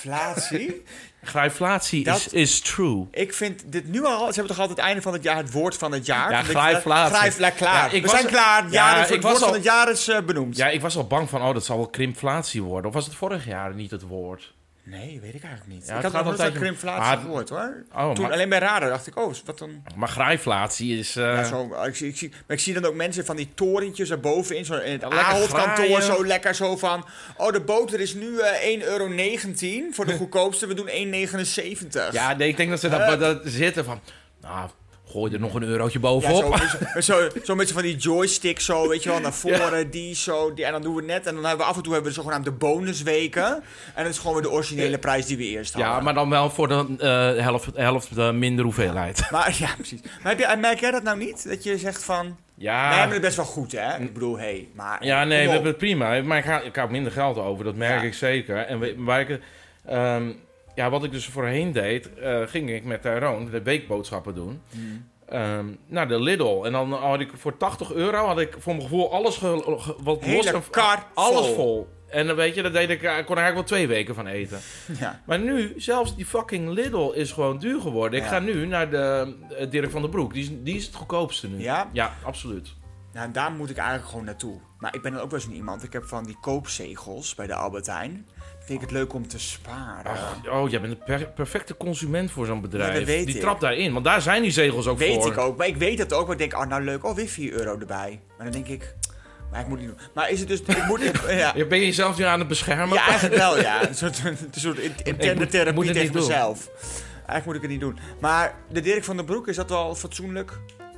S2: graaiflatie.
S1: Graaiflatie
S2: Dat-
S1: is, is true.
S2: ik vind dit nu al... Ze hebben toch altijd het einde van het jaar het woord van het jaar?
S1: Ja,
S2: Dat-
S1: graaiflatie.
S2: Graai- ja, klaar.
S1: Ja, ik
S2: we
S1: was-
S2: zijn klaar. Het, jaar
S1: Ja,
S2: is- het
S1: ik
S2: woord
S1: was
S2: van
S1: al-
S2: het jaar is eh, benoemd.
S1: Ja, ik was al bang van, oh, dat zal wel krimflatie worden. Of was het vorig jaar niet het woord?
S2: Nee, weet ik eigenlijk niet.
S1: Ja, het
S2: ik had nog
S1: gaat
S2: nooit
S1: altijd
S2: aan
S1: om-
S2: krimflatie
S1: Ah,
S2: gehoord, hoor.
S1: Oh,
S2: Toen,
S1: maar,
S2: alleen bij radar dacht ik, oh, wat dan...
S1: maar graaiflatie is... eh,
S2: Ja, zo, ik, zie, ik, zie, maar ik zie dan ook mensen van die torentjes erbovenin, zo in het
S1: Ja, lekker
S2: Ahold kantoor
S1: graaien.
S2: zo lekker zo van... Oh, de boter is nu eh 1,19 euro voor de goedkoopste, we doen 1,79.
S1: Ja, nee, ik denk dat ze dat, dat zitten van... Nou, gooi er nog een eurotje
S2: Ja, zo,
S1: bovenop.
S2: met zo, zo met zo van die joystick zo, weet je wel, naar voren, die zo. Die, en dan doen we het net, en dan hebben we af en toe hebben we de zogenaamde bonusweken. En dat is gewoon weer de originele prijs die we eerst hadden.
S1: Eh, Ja, maar dan wel voor de eh, helft, helft eh, minder hoeveelheid.
S2: Maar- ja, precies. Maar heb je, merk jij dat nou niet? Dat je zegt van...
S1: Ja,
S2: Wij hebben het best wel goed, hè? Ik bedoel, hé, hey, maar...
S1: Ah. ja nee,
S2: kom
S1: we
S2: op.
S1: hebben het prima. Maar ik, ga, ik hou minder geld over, dat merk
S2: Ja.
S1: ik zeker. En we- waar ik, ehm, ja, wat ik dus voorheen deed, eh, ging ik met Tyrone de weekboodschappen doen.
S2: Hmm.
S1: ehm, naar de Lidl. En dan had ik voor 80 euro, had ik voor mijn gevoel alles ge, ge- wat los...
S2: Hele
S1: en-
S2: kar
S1: alles
S2: vol.
S1: vol. En dan weet je, daar deed ik, ik kon er eigenlijk wel twee weken van eten.
S2: Ja.
S1: Maar nu, zelfs die fucking Lidl is gewoon duur geworden. Ik
S2: Ja.
S1: ga nu naar de eh, Dirk van den Broek. Die is, die is het goedkoopste nu.
S2: Ja?
S1: absoluut.
S2: Nou, daar moet ik eigenlijk gewoon naartoe. Maar ik ben dan ook wel eens een iemand. Ik heb van die koopzegels bij de Albert Heijn. Vind ik het leuk om te sparen.
S1: Ach, oh, jij bent een per- perfecte consument voor zo'n bedrijf.
S2: Ja, dat weet
S1: die
S2: ik.
S1: trapt daarin, want daar zijn die zegels ook
S2: weet
S1: voor.
S2: ik ook. Maar ik weet dat ook. Maar ik denk, oh, nou leuk. Oh, weer 4 euro erbij. Maar dan denk ik, maar ik moet niet doen. Maar is het dus... Ik moet, ik- ja.
S1: Ja, Ben je jezelf nu aan het beschermen?
S2: ja, eigenlijk wel, ja. Een soort, een soort in- interne
S1: Ik moet-
S2: therapie
S1: moet het
S2: tegen
S1: niet doen.
S2: mezelf. Eigenlijk moet ik het niet doen. Maar de Dirk van den Broek, is dat wel fatsoenlijk?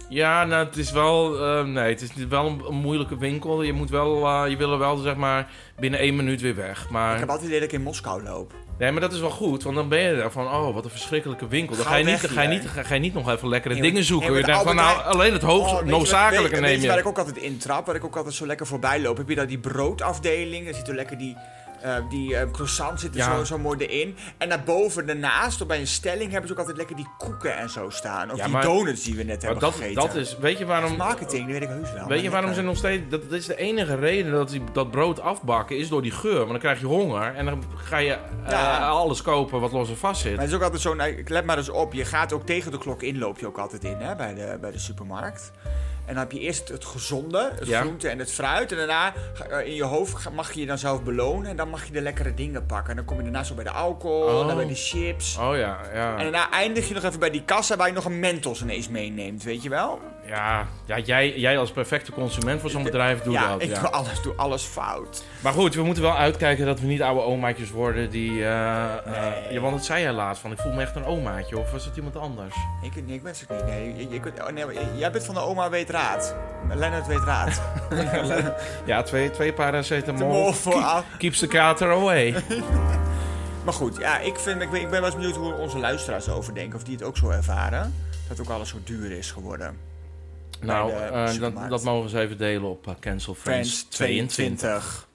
S1: Ja, nou, het is wel... eh, nee, het is wel een, een moeilijke winkel. Je moet wel... eh, je wil er wel, zeg maar, binnen één minuut weer weg.
S2: Ik
S1: Maar...
S2: heb altijd het idee dat ik in Moskou loop.
S1: Nee, maar dat is wel goed, want dan ben je daar van, oh, wat een verschrikkelijke winkel. Dan
S2: Ga
S1: ga je niet,
S2: weg
S1: dan ga je
S2: hier.
S1: niet, ga, ga je niet nog even lekkere
S2: Nee,
S1: dingen
S2: want-
S1: zoeken.
S2: nee,
S1: je
S2: want
S1: denkt van,
S2: Albert
S1: nou, alleen het hoogst
S2: Oh, weet je wat-
S1: noodzakelijke
S2: weet-
S1: neem
S2: Weet
S1: je.
S2: je waar ik ook altijd intrap, waar ik ook altijd zo lekker voorbij loop? Heb je daar die broodafdeling? Daar zit er lekker die, eh die eh, croissant zit er
S1: Ja.
S2: zo, zo mooi erin. En daarboven, daarnaast, op bij een stelling, hebben ze ook altijd lekker die koeken en zo staan. Of
S1: Ja,
S2: die
S1: maar-
S2: donuts die we net
S1: Maar
S2: hebben
S1: dat,
S2: gegeten.
S1: dat is, weet je waarom...
S2: Marketing, die weet ik heus wel.
S1: Weet je
S2: Oh, maar
S1: waarom
S2: eh,
S1: ze
S2: lekker.
S1: nog steeds... Dat, dat is de enige reden dat die, dat brood afbakken, is door die geur. Want dan krijg je honger en dan ga je eh,
S2: Ja.
S1: alles kopen wat los en vast zit.
S2: Maar het is ook altijd zo, nou, ik let maar eens op, je gaat ook tegen de klok in, loop je ook altijd in hè, bij, de, bij de supermarkt. En dan heb je eerst het, het gezonde, het
S1: Ja.
S2: groente en het fruit. En daarna ga- eh, in je hoofd ga- mag je je dan zelf belonen. En dan mag je de lekkere dingen pakken. En dan kom je daarna zo bij de alcohol,
S1: Oh.
S2: dan bij de chips.
S1: Oh ja,
S2: En
S1: ja.
S2: daarna eindig je nog even bij die kassa waar je nog een mentos ineens meeneemt, weet je wel?
S1: Ja, ja jij, jij als perfecte consument voor zo'n bedrijf doet
S2: ja,
S1: dat.
S2: ik
S1: ja.
S2: doe alles, doe alles fout.
S1: Maar goed, we moeten wel uitkijken dat we niet oude omaatjes worden die... eh, eh,
S2: Nee.
S1: ja, want dat zei jij laatst, van ik voel me echt een omaatje. Of was het iemand anders?
S2: Ik, nee, ik ben het ook niet. Nee, je- je kunt- oh, nee, maar j- jij bent van de oma weet raad. Lennart weet raad.
S1: Ja, twee, twee
S2: De mol
S1: paracetamol.
S2: voor af.
S1: Keeps the kater away.
S2: Maar goed, ja, ik, vind, ik, ben, ik ben wel eens benieuwd hoe onze luisteraars over denken. Of die het ook zo ervaren. Dat ook alles zo duur is geworden.
S1: nou,
S2: Bij de
S1: eh, dat,
S2: supermarkt.
S1: dat mogen ze even delen op eh, Cancel Friends
S2: Friends
S1: 22.
S2: 22.